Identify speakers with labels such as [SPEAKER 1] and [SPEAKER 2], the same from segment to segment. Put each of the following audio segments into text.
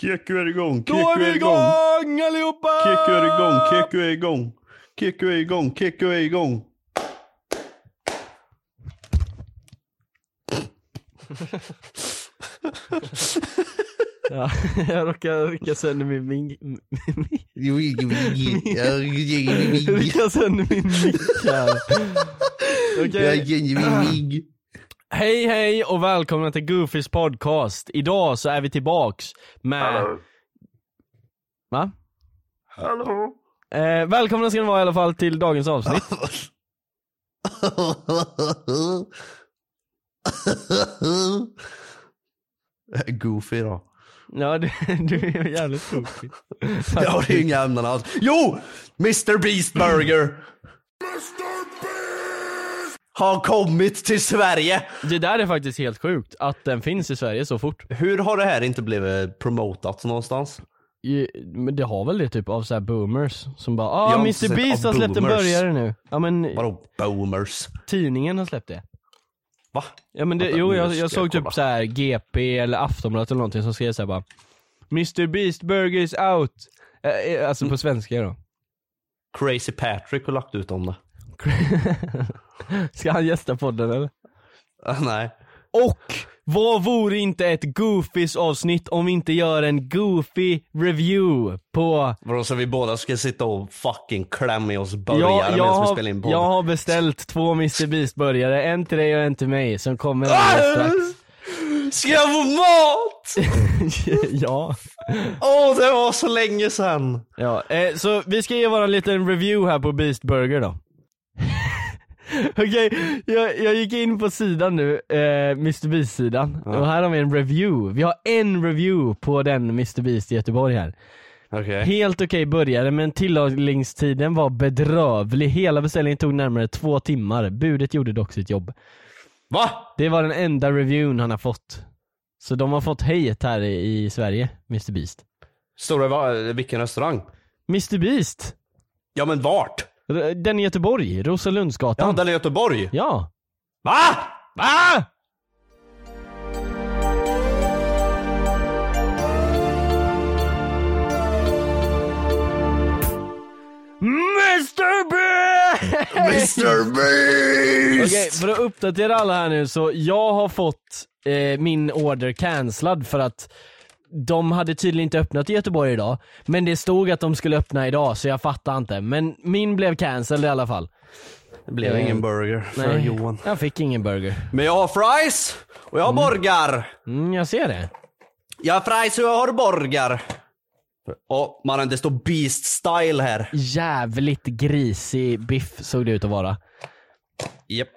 [SPEAKER 1] Keku är igång, Keku
[SPEAKER 2] Då är vi
[SPEAKER 1] är igång.
[SPEAKER 2] igång allihopa!
[SPEAKER 1] Keku är igång, Keku är igång. Keku är igång, Keku är igång.
[SPEAKER 2] Ja, jag råkar rycka sönder min mink. Rycka sönder min mink här. Okej. Hej hej och välkomna till Goofys podcast. Idag så är vi tillbaks med... Va?
[SPEAKER 1] Hallå.
[SPEAKER 2] Eh, välkomna ska ni vara i alla fall till dagens avsnitt.
[SPEAKER 1] Goofy då.
[SPEAKER 2] Ja, du, du är jävligt tokig.
[SPEAKER 1] Jag har inga ämnen alls. Jo! Mr Beast Burger. Har kommit till Sverige.
[SPEAKER 2] Det där är faktiskt helt sjukt, att den finns i Sverige så fort.
[SPEAKER 1] Hur har det här inte blivit promotat någonstans?
[SPEAKER 2] Ju- Men det har väl det typ av så här boomers som bara ah,
[SPEAKER 1] Jag har inte
[SPEAKER 2] Mr
[SPEAKER 1] sett
[SPEAKER 2] Beast har
[SPEAKER 1] av
[SPEAKER 2] släppt en
[SPEAKER 1] boomers."
[SPEAKER 2] burgare nu. Ja men
[SPEAKER 1] Vadå boomers?
[SPEAKER 2] tidningen har släppt det.
[SPEAKER 1] Va?
[SPEAKER 2] Ja men det,
[SPEAKER 1] Vänta,
[SPEAKER 2] jo
[SPEAKER 1] nu
[SPEAKER 2] jag,
[SPEAKER 1] ska
[SPEAKER 2] jag
[SPEAKER 1] jag
[SPEAKER 2] såg
[SPEAKER 1] kolla.
[SPEAKER 2] typ så här GP eller Aftonbladet eller någonting som skrev såhär bara Mr Beast burger is out. Eh, eh, Alltså på svenska då.
[SPEAKER 1] Crazy Patrick har lagt ut om det.
[SPEAKER 2] Ska han gästa podden eller?
[SPEAKER 1] Ah, Nej.
[SPEAKER 2] Och vad vore inte ett Goofies avsnitt om vi inte gör en Goofy review på
[SPEAKER 1] Vadå så vi båda ska sitta och fucking klämma i oss burgare
[SPEAKER 2] jag,
[SPEAKER 1] medan vi
[SPEAKER 2] har,
[SPEAKER 1] spelar in podd?
[SPEAKER 2] jag har beställt två Mr Beast-burgare, en till dig och en till mig som kommer
[SPEAKER 1] Ah!
[SPEAKER 2] alldeles strax.
[SPEAKER 1] Ska jag få mat?
[SPEAKER 2] ja.
[SPEAKER 1] Åh det var så länge sedan.
[SPEAKER 2] ja. Eh, så vi ska ge våran liten review här på Beast Burger då. Okej, jag, jag gick in på sidan nu, eh, Mr Beast-sidan. Och här har vi en review. Vi har en review på den Mr Beast i Göteborg här.
[SPEAKER 1] Okej.
[SPEAKER 2] Helt okej började men tillagningstiden var bedrövlig. Hela beställningen tog närmare två timmar. Budet gjorde dock sitt jobb.
[SPEAKER 1] Va?
[SPEAKER 2] Det var den enda reviewn han har fått. Så de har fått hejet här i, i Sverige, Mr Beast.
[SPEAKER 1] Står det va? vilken restaurang?
[SPEAKER 2] Mr Beast!
[SPEAKER 1] Ja men vart?
[SPEAKER 2] R- Den i Göteborg,
[SPEAKER 1] Ja
[SPEAKER 2] Rosalundsgatan.
[SPEAKER 1] den i Göteborg.
[SPEAKER 2] Ja.
[SPEAKER 1] Va? Va?
[SPEAKER 2] Mr Beast!
[SPEAKER 1] Mr Beast!
[SPEAKER 2] Okej, för att uppdatera alla här nu så jag har fått eh, min order cancellad för att de hade tydligen inte öppnat i Göteborg idag. Men det stod att de skulle öppna idag så jag fattar inte. Men min blev cancelled i alla fall.
[SPEAKER 1] Det blev
[SPEAKER 2] Eh,
[SPEAKER 1] ingen burger för
[SPEAKER 2] nej.
[SPEAKER 1] Johan.
[SPEAKER 2] Jag fick ingen burger.
[SPEAKER 1] Men jag har fries och jag har borgar.
[SPEAKER 2] Mm, jag ser det.
[SPEAKER 1] Jag har fries och jag har borgar. Åh mannen det står beast style här.
[SPEAKER 2] jävligt grisig biff såg det ut att vara.
[SPEAKER 1] Japp.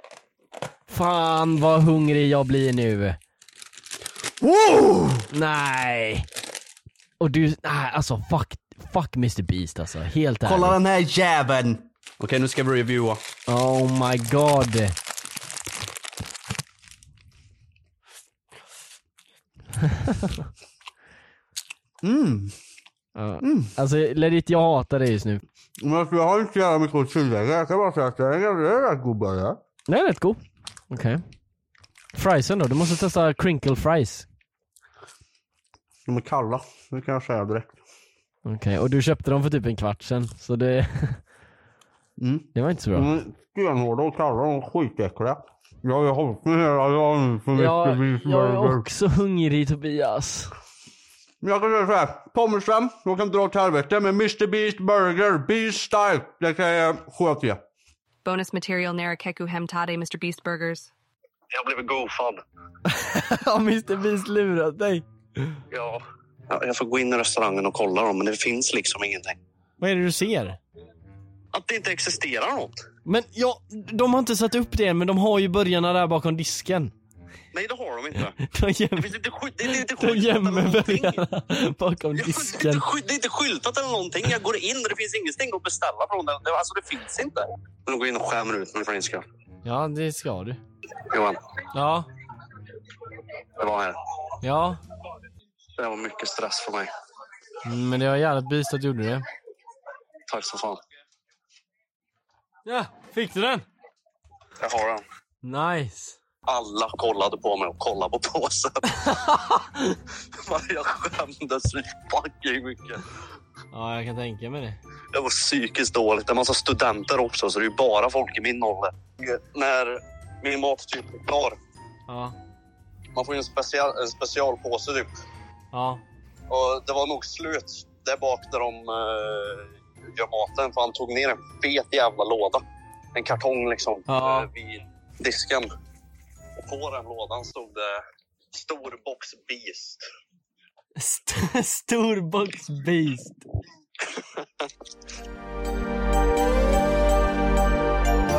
[SPEAKER 2] Fan vad hungrig jag blir nu.
[SPEAKER 1] Wow!
[SPEAKER 2] Nej. Och du, nej alltså fuck, fuck Mr Beast alltså. Helt ärligt.
[SPEAKER 1] Kolla den här jäveln! Okej nu ska vi reviewa.
[SPEAKER 2] Oh my god. mm. Alltså legit jag hatar dig just nu.
[SPEAKER 3] Men alltså, jag har inte så jävla mycket att tillägga. Jag kan bara säga att det är en jävla rätt god burgare.
[SPEAKER 2] Den är rätt god. Okej. Friesen då? Du måste testa crinkle fries.
[SPEAKER 3] De är kalla. Det kan jag säga direkt.
[SPEAKER 2] Okej, och du köpte dem för typ en kvart sen, så det...
[SPEAKER 3] Mm.
[SPEAKER 2] Det var inte så bra.
[SPEAKER 3] De är stenhårda och kalla och skitäckliga. Jag har ju hållit mig hela dagen nu för
[SPEAKER 2] Jag,
[SPEAKER 3] Mr. Beast
[SPEAKER 2] jag är
[SPEAKER 3] Burger.
[SPEAKER 2] också hungrig Tobias.
[SPEAKER 3] Men jag kan säga såhär. Pommersvem, jag kan dra åt helvete. Men Mr. Beast Burger, Beast Style. Det kan jag sköta ge.
[SPEAKER 4] Bonus material Narakeku Hemtade Mr. Beast Burgers.
[SPEAKER 5] Jag blev goofad.
[SPEAKER 2] Har Mr Beast lurat dig?
[SPEAKER 5] Ja. Jag får gå in i restaurangen och kolla dem, men det finns liksom ingenting.
[SPEAKER 2] Vad är det du ser?
[SPEAKER 5] Att det inte existerar något.
[SPEAKER 2] Men ja, de har inte satt upp det än men de har ju burgarna där bakom disken.
[SPEAKER 5] Nej, det har de inte.
[SPEAKER 2] De
[SPEAKER 5] Det
[SPEAKER 2] gömmer,
[SPEAKER 5] finns inte, sky- det är inte
[SPEAKER 2] de
[SPEAKER 5] skyltat eller
[SPEAKER 2] gömmer
[SPEAKER 5] någonting. Ja,
[SPEAKER 2] burgarna bakom
[SPEAKER 5] Det är,
[SPEAKER 2] disken.
[SPEAKER 5] inte sky- det är inte skyltat eller någonting. Jag går in och det finns ingenting att beställa från. Det, det- alltså, det finns inte. Men de går in och skämmer ut mig för din skull.
[SPEAKER 2] Ja, det ska du.
[SPEAKER 5] Johan,
[SPEAKER 2] Ja,
[SPEAKER 5] det var här.
[SPEAKER 2] ja.
[SPEAKER 5] Det var mycket stress för mig.
[SPEAKER 2] Mm, Men det var jävligt beast att du gjorde det.
[SPEAKER 5] Tack så fan.
[SPEAKER 2] Ja, fick du den?
[SPEAKER 5] Jag har den.
[SPEAKER 2] Nice.
[SPEAKER 5] Alla kollade på mig och kollade på påsen. Man, jag skämdes så fucking mycket.
[SPEAKER 2] Ja, jag kan tänka mig det.
[SPEAKER 5] Det var psykiskt dåligt. Det är massa studenter också, så det är ju bara folk i min ålder. När min mat typ är klar,
[SPEAKER 2] Ja.
[SPEAKER 5] man får ju en, special, en specialpåse typ.
[SPEAKER 2] Ja.
[SPEAKER 5] Och det var nog slut där bak där de eh, gör maten. För han tog ner en fet jävla låda. En kartong liksom.
[SPEAKER 2] Ja.
[SPEAKER 5] eh, vid disken. Och på den lådan stod det stor box beast.
[SPEAKER 2] St- Storboxbeast.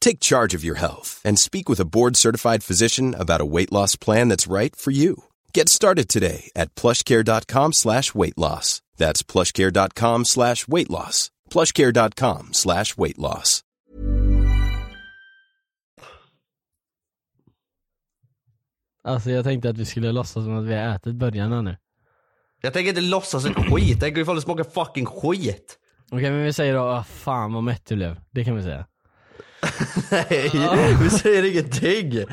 [SPEAKER 6] Take charge of your health and speak with a board-certified physician about a weight loss plan that's right for you. Get started today at plushcare.com slash weight loss. That's plushcare.com slash weight loss. plushcare.com slash weight loss.
[SPEAKER 2] Alltså jag tänkte att vi skulle låtsas som att vi har ätit början nu.
[SPEAKER 1] Jag tänker inte låtsas ett skit. Jag tänker ifall det smakar fucking skit.
[SPEAKER 2] Okej men vi säger då, ah, fan vad mätt du blev. Det kan vi säga.
[SPEAKER 1] Nej, vi säger ingenting.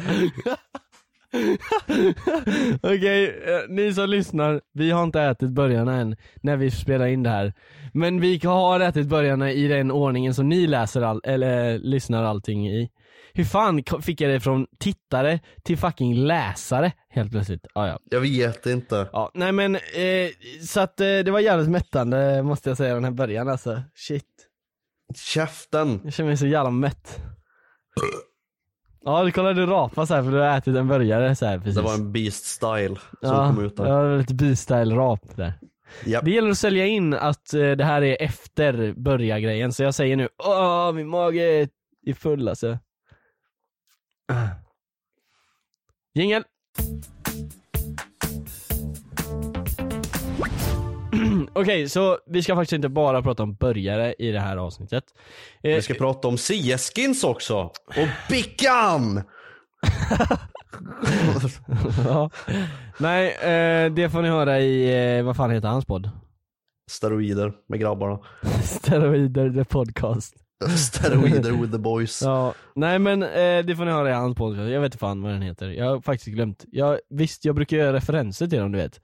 [SPEAKER 2] Okej, eh, ni som lyssnar, vi har inte ätit börjarna än när vi spelar in det här. Men vi har ätit börjarna i den ordningen som ni läser all, eller eh, lyssnar allting i. Hur fan ko- fick jag det från tittare till fucking läsare helt plötsligt? Ah, ja.
[SPEAKER 1] Jag vet inte.
[SPEAKER 2] ja, nej men eh, så att eh, det var jävligt mättande måste jag säga den här början alltså. Shit,
[SPEAKER 1] Käften.
[SPEAKER 2] jag känner mig så jävla mätt. Ja, du kollade du rapa så här för du har ätit en burgare så här precis.
[SPEAKER 1] Det var en beast style som kom ut där.
[SPEAKER 2] Ja, det var lite B-style-rap där.
[SPEAKER 1] Japp.
[SPEAKER 2] Det gäller att sälja in att eh, det här är efter börja-grejen, så jag säger nu Åh, min mage är full alltså. Jingel! Okej, så vi ska faktiskt inte bara prata om börjare i det här avsnittet. Eh,
[SPEAKER 1] Vi ska prata om CS-skins också. Och Bickan!
[SPEAKER 2] ja. Nej, eh, det får ni höra i, eh, vad fan heter hans podd?
[SPEAKER 1] Steroider med grabbarna.
[SPEAKER 2] Steroider the podcast.
[SPEAKER 1] Steroider with the boys.
[SPEAKER 2] Ja, nej men eh, det får ni höra i hans podcast, jag vet inte fan vad den heter. Jag har faktiskt glömt. Jag, visst, jag brukar göra referenser till dem du vet.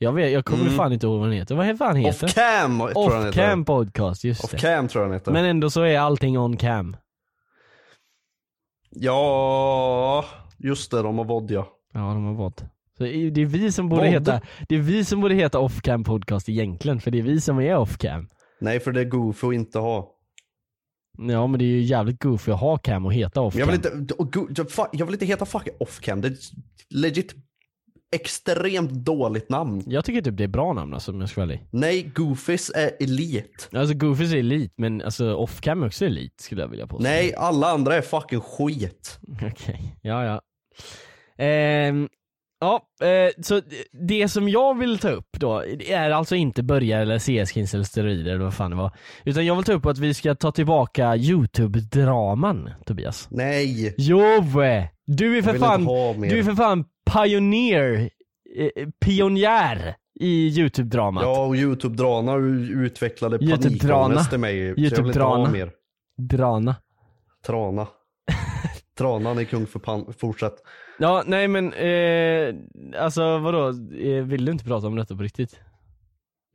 [SPEAKER 2] Jag, vet, jag kommer fan inte ihåg vad den heter. Vad fan heter
[SPEAKER 1] Off cam tror jag den
[SPEAKER 2] Off
[SPEAKER 1] heter.
[SPEAKER 2] cam podcast, just
[SPEAKER 1] Off
[SPEAKER 2] det.
[SPEAKER 1] cam tror jag den heter.
[SPEAKER 2] Men ändå så är allting on cam.
[SPEAKER 1] Ja, just det. De har vodja.
[SPEAKER 2] Ja, de har vad. Så det är- det är vi som borde
[SPEAKER 1] Vad?
[SPEAKER 2] heta, det är vi som borde heta off cam podcast egentligen, för det är vi som är off cam.
[SPEAKER 1] Nej, för det är goofy att inte ha.
[SPEAKER 2] Ja men det är ju jävligt goofy att ha cam och heta off
[SPEAKER 1] Men
[SPEAKER 2] cam.
[SPEAKER 1] jag vill inte, och go- jag- fa- jag vill inte heta fucking off cam. Det är ett legit extremt dåligt namn.
[SPEAKER 2] jag tycker typ det är bra namn alltså om jag ska vara ärlig.
[SPEAKER 1] Nej, goofies är elit.
[SPEAKER 2] Alltså Goofys är elit, men alltså off cam är också elit skulle jag vilja påstå.
[SPEAKER 1] Nej, alla andra är fucking skit.
[SPEAKER 2] Okej, ja ja. Ehm, Ja, eh, så det som jag vill ta upp då är alltså inte börja eller CS-skins eller steroider eller vad fan det var. Utan jag vill ta upp att vi ska ta tillbaka YouTube-draman, Tobias.
[SPEAKER 1] Nej!
[SPEAKER 2] Jo! Du är för
[SPEAKER 1] vill inte
[SPEAKER 2] fan,
[SPEAKER 1] ha mer.
[SPEAKER 2] du är för fan pioneer, eh, pionjär i YouTube-dramat.
[SPEAKER 1] Ja, och Youtube-drana utvecklade
[SPEAKER 2] YouTube-drana.
[SPEAKER 1] panikångest i mig. Så jag vill inte
[SPEAKER 2] YouTube-drana.
[SPEAKER 1] ha mer.
[SPEAKER 2] Drana.
[SPEAKER 1] Trana. Tranan är kung för pan... Fortsätt.
[SPEAKER 2] Ja, nej men eh, alltså vadå, eh, vill du inte prata om detta på riktigt?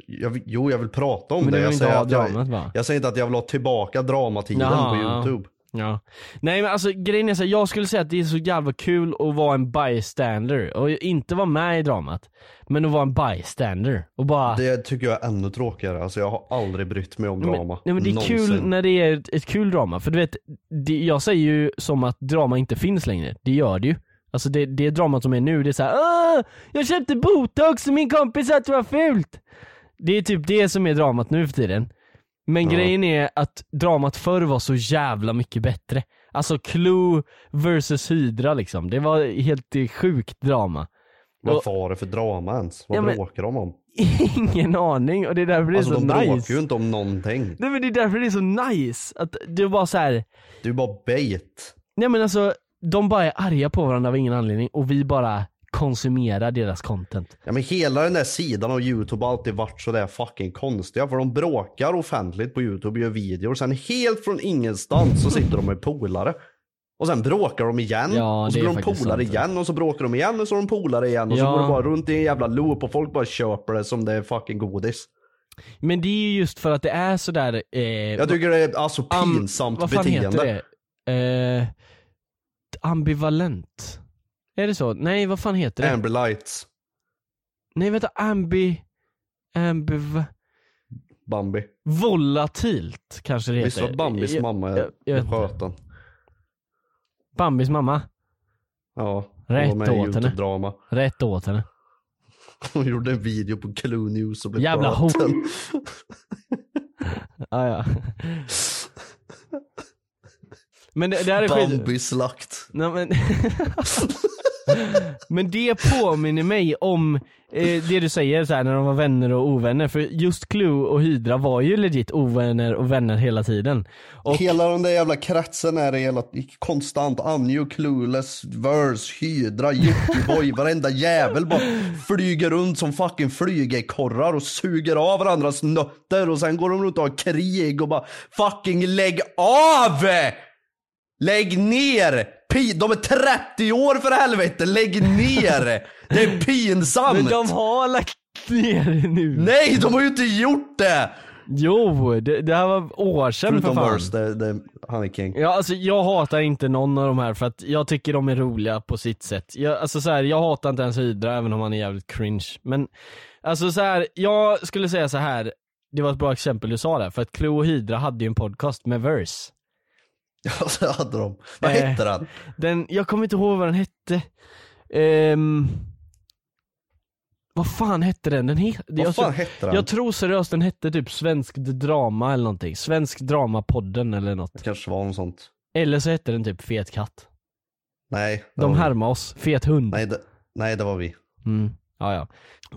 [SPEAKER 1] Jag, vill- jo, jag vill prata om
[SPEAKER 2] Men
[SPEAKER 1] det.
[SPEAKER 2] du vill
[SPEAKER 1] Jag
[SPEAKER 2] inte
[SPEAKER 1] säger,
[SPEAKER 2] ha
[SPEAKER 1] att alltså, jag,
[SPEAKER 2] dramat va?
[SPEAKER 1] jag säger inte att jag vill ha tillbaka dramatiden
[SPEAKER 2] Jaha,
[SPEAKER 1] på
[SPEAKER 2] ja.
[SPEAKER 1] Youtube.
[SPEAKER 2] Ja. Nej men alltså grejen är så här, jag skulle säga att det är så jävla kul att vara en bystander och inte vara med i dramat. Men att vara en bystander och bara
[SPEAKER 1] Det tycker jag är ännu tråkigare. Alltså, jag har aldrig brytt mig om
[SPEAKER 2] Nej,
[SPEAKER 1] drama.
[SPEAKER 2] Men, nej, men det är kul
[SPEAKER 1] Någonsin.
[SPEAKER 2] när det är ett, ett kul drama, för du vet, det, jag säger ju som att drama inte finns längre, det gör det ju. Alltså det, det dramat som är nu, det är såhär Åh, jag köpte botox och min kompis sa att det var fult. Det är typ det som är dramat nu för tiden. Men grejen är att dramat förr var så jävla mycket bättre. Alltså Clue versus Hydra liksom, det var helt eh, sjukt drama.
[SPEAKER 1] Vad var det för drama ens? Vad
[SPEAKER 2] Ja, men-
[SPEAKER 1] bråkar de om?
[SPEAKER 2] Ingen aning och det är därför det är
[SPEAKER 1] Alltså
[SPEAKER 2] så
[SPEAKER 1] de bråkar
[SPEAKER 2] nice.
[SPEAKER 1] ju inte om någonting.
[SPEAKER 2] Nej men det är därför det är så nice, att det var så här.
[SPEAKER 1] Det är ju bara bait.
[SPEAKER 2] Nej men alltså, de bara är arga på varandra av ingen anledning och vi bara konsumerar deras content.
[SPEAKER 1] Ja, men hela den där sidan av Youtube har alltid varit så där fucking konstiga. För de bråkar offentligt på Youtube och gör videor. Sen helt från ingenstans så sitter de med polare. Och sen bråkar de igen.
[SPEAKER 2] Ja,
[SPEAKER 1] och så
[SPEAKER 2] det är
[SPEAKER 1] blir de
[SPEAKER 2] faktiskt
[SPEAKER 1] polare
[SPEAKER 2] sant.
[SPEAKER 1] igen. Och så bråkar de igen. Och så är de polare igen. Och
[SPEAKER 2] Ja.
[SPEAKER 1] så går det bara runt i en jävla loop. Och folk bara köper det som det är fucking godis.
[SPEAKER 2] Men det är ju just för att det är sådär... Eh,
[SPEAKER 1] Jag tycker det är alltså
[SPEAKER 2] am-
[SPEAKER 1] pinsamt
[SPEAKER 2] vad fan
[SPEAKER 1] beteende.
[SPEAKER 2] heter det? Eh, ambivalent. Är det så? Nej vad fan heter det?
[SPEAKER 1] Amber lights.
[SPEAKER 2] Nej vänta, ambi... Ambiv...
[SPEAKER 1] Bambi.
[SPEAKER 2] Volatilt kanske det heter.
[SPEAKER 1] Visst var Bambis
[SPEAKER 2] Jag-
[SPEAKER 1] mamma
[SPEAKER 2] jag- jag vet inte.
[SPEAKER 1] sköt den?
[SPEAKER 2] Bambis mamma.
[SPEAKER 1] Ja.
[SPEAKER 2] Rätt
[SPEAKER 1] hon var med i
[SPEAKER 2] åt henne.
[SPEAKER 1] Youtube-drama.
[SPEAKER 2] Rätt åt henne.
[SPEAKER 1] Hon gjorde en video på Clue News och blev
[SPEAKER 2] Jävla
[SPEAKER 1] sköten.
[SPEAKER 2] hot. Ah, ja. Men det, det här är skit...
[SPEAKER 1] Bambi-slakt.
[SPEAKER 2] Nej, men... men det påminner mig om eh, det du säger så här, när de var vänner och ovänner. För just Clue och Hydra var ju legit ovänner och vänner hela tiden. Och
[SPEAKER 1] Hela den där jävla kretsen är det hela konstant. Anjo, Clueless, Verse, Hydra, Jockiboi. varenda jävel bara flyger runt som fucking flygekorrar och suger av varandras nötter och sen går de runt och har krig och bara fucking lägg av! Lägg ner! Pi- de är 30 år för helvete, lägg ner! Det är pinsamt!
[SPEAKER 2] men de har lagt ner det nu.
[SPEAKER 1] Nej, de har ju inte gjort det!
[SPEAKER 2] Jo, det, det här var år sedan för
[SPEAKER 1] Förutom
[SPEAKER 2] fan.
[SPEAKER 1] Verse, det, det, han är king.
[SPEAKER 2] Ja, alltså jag hatar inte någon av de här för att jag tycker de är roliga på sitt sätt. Jag, alltså så här, jag hatar inte ens Hydra även om han är jävligt cringe. Men alltså så här, jag skulle säga så här. Det var ett bra exempel du sa där, för att Clue och Hydra hade ju en podcast med Verse.
[SPEAKER 1] Ja, så hade de. Vad
[SPEAKER 2] Eh.
[SPEAKER 1] hette den?
[SPEAKER 2] Den, jag kommer inte ihåg vad den hette. Ehm, vad fan hette den? den he,
[SPEAKER 1] Vad
[SPEAKER 2] jag,
[SPEAKER 1] fan
[SPEAKER 2] tror-
[SPEAKER 1] hette den?
[SPEAKER 2] jag tror seriöst den hette typ Svensk Drama eller någonting. Svensk Dramapodden eller något.
[SPEAKER 1] Det kanske var något sånt.
[SPEAKER 2] Eller så hette den typ Fet katt.
[SPEAKER 1] Nej. det
[SPEAKER 2] De
[SPEAKER 1] var vi.
[SPEAKER 2] härmar oss. Fet hund.
[SPEAKER 1] Nej det, nej, det var vi.
[SPEAKER 2] Mm. Ja, ja.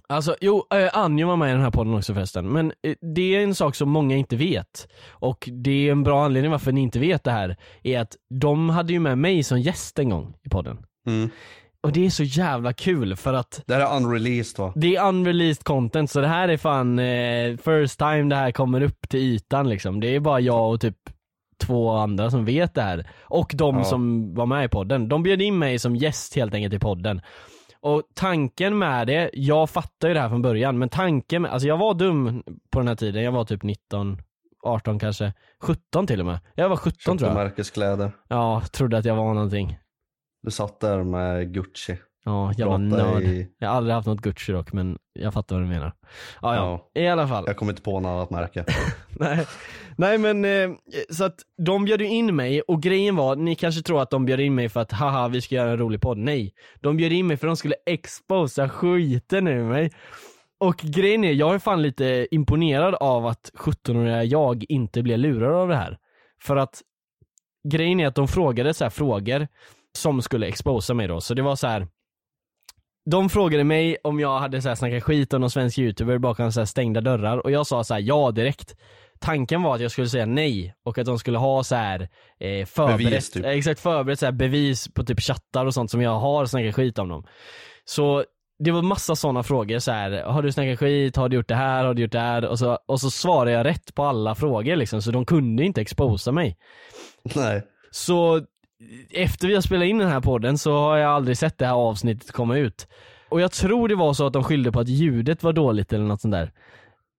[SPEAKER 2] Alltså, jo, eh, Anjo var med i den här podden också förresten. Men eh, det är en sak som många inte vet. Och det är en bra anledning varför ni inte vet det här. Är att de hade ju med mig som gäst en gång i podden.
[SPEAKER 1] Mm.
[SPEAKER 2] Och det är så jävla kul för att
[SPEAKER 1] Det här är unreleased va?
[SPEAKER 2] det är unreleased content så det här är fan eh, first time det här kommer upp till ytan liksom. Det är bara jag och typ två andra som vet det här. Och de
[SPEAKER 1] Ja.
[SPEAKER 2] som var med i podden. De bjöd in mig som gäst helt enkelt i podden. Och tanken med det, jag fattar ju det här från början, men tanken med, alltså jag var dum på den här tiden, jag var typ 19, 18 kanske, 17 till och med. Jag var 17
[SPEAKER 1] Köpte
[SPEAKER 2] tror jag.
[SPEAKER 1] märkeskläder.
[SPEAKER 2] Ja, trodde att jag var någonting.
[SPEAKER 1] Du satt där med Gucci.
[SPEAKER 2] Ja, jag var
[SPEAKER 1] Pratade
[SPEAKER 2] nörd.
[SPEAKER 1] i-
[SPEAKER 2] Jag har aldrig haft något Gucci dock, men jag fattar vad du menar. Ja, ja. I alla fall.
[SPEAKER 1] Jag kommer inte på något annat märke.
[SPEAKER 2] Nej. Nej men, eh, så att de bjöd ju in mig och grejen var, ni kanske tror att de bjöd in mig för att haha vi ska göra en rolig podd. Nej. De bjöd in mig för att de skulle exposa skiten ur mig. Och grejen är, jag är fan lite imponerad av att 17-åriga jag inte blev lurad av det här. För att grejen är att de frågade så här frågor som skulle exposa mig då, så det var så här de frågade mig om jag hade så här snackat skit om någon svensk youtuber bakom så här stängda dörrar och jag sa så här ja direkt. Tanken var att jag skulle säga nej och att de skulle ha så här eh, förberett,
[SPEAKER 1] Bevis, typ.
[SPEAKER 2] eh, exakt, förberett så här bevis på typ chattar och sånt som jag har snackat skit om dem. Så det var massa sådana frågor så här. har du snackat skit, har du gjort det här, har du gjort det här? Och så, och så svarade jag rätt på alla frågor liksom, så de kunde inte exposa mig.
[SPEAKER 1] Nej.
[SPEAKER 2] Så efter vi har spelat in den här podden så har jag aldrig sett det här avsnittet komma ut. Och jag tror det var så att de skyllde på att ljudet var dåligt eller något sånt där.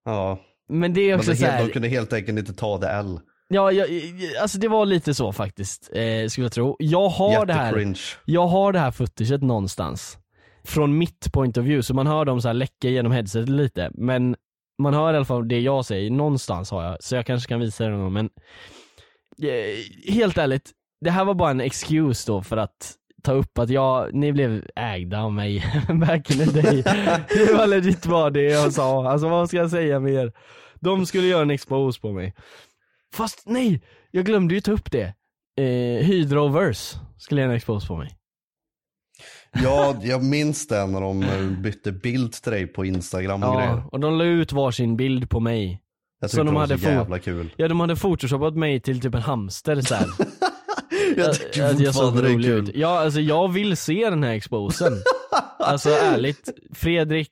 [SPEAKER 1] Ja.
[SPEAKER 2] Men det är
[SPEAKER 1] Men
[SPEAKER 2] också
[SPEAKER 1] det
[SPEAKER 2] så
[SPEAKER 1] helt,
[SPEAKER 2] här,
[SPEAKER 1] de kunde helt enkelt inte ta det L.
[SPEAKER 2] ja, jag, alltså det var lite så faktiskt, eh, skulle jag tro. Jag har det här
[SPEAKER 1] Jättecringe.
[SPEAKER 2] jag har det här footaget någonstans. Från mitt point of view, så man hör dem så här läcka genom headsetet lite. Men man hör i alla fall det jag säger, någonstans har jag. Så jag kanske kan visa det någon gång men eh, Helt ärligt, det här var bara en excuse då för att ta upp att jag, ni blev ägda av mig back in the day. det var legit bara det jag sa. Alltså vad ska jag säga mer? De skulle göra en expose på mig. Fast nej, jag glömde ju ta upp det. Eh, Hydroverse skulle göra en expose på mig.
[SPEAKER 1] Ja, jag minns det när de eh, bytte bild till dig på Instagram och grejer.
[SPEAKER 2] Ja, och de la ut varsin bild på mig.
[SPEAKER 1] Jag
[SPEAKER 2] Så
[SPEAKER 1] tyckte
[SPEAKER 2] de
[SPEAKER 1] det var
[SPEAKER 2] hade
[SPEAKER 1] så
[SPEAKER 2] fot-
[SPEAKER 1] jävla kul.
[SPEAKER 2] Ja, de hade photoshopat mig till typ en hamster så här.
[SPEAKER 1] Jag
[SPEAKER 2] Att-
[SPEAKER 1] tycker
[SPEAKER 2] att jag såg
[SPEAKER 1] fortfarande det är
[SPEAKER 2] rolig ut.
[SPEAKER 1] kul.
[SPEAKER 2] Ja, alltså jag vill se den här exposen. alltså ärligt, Fredrik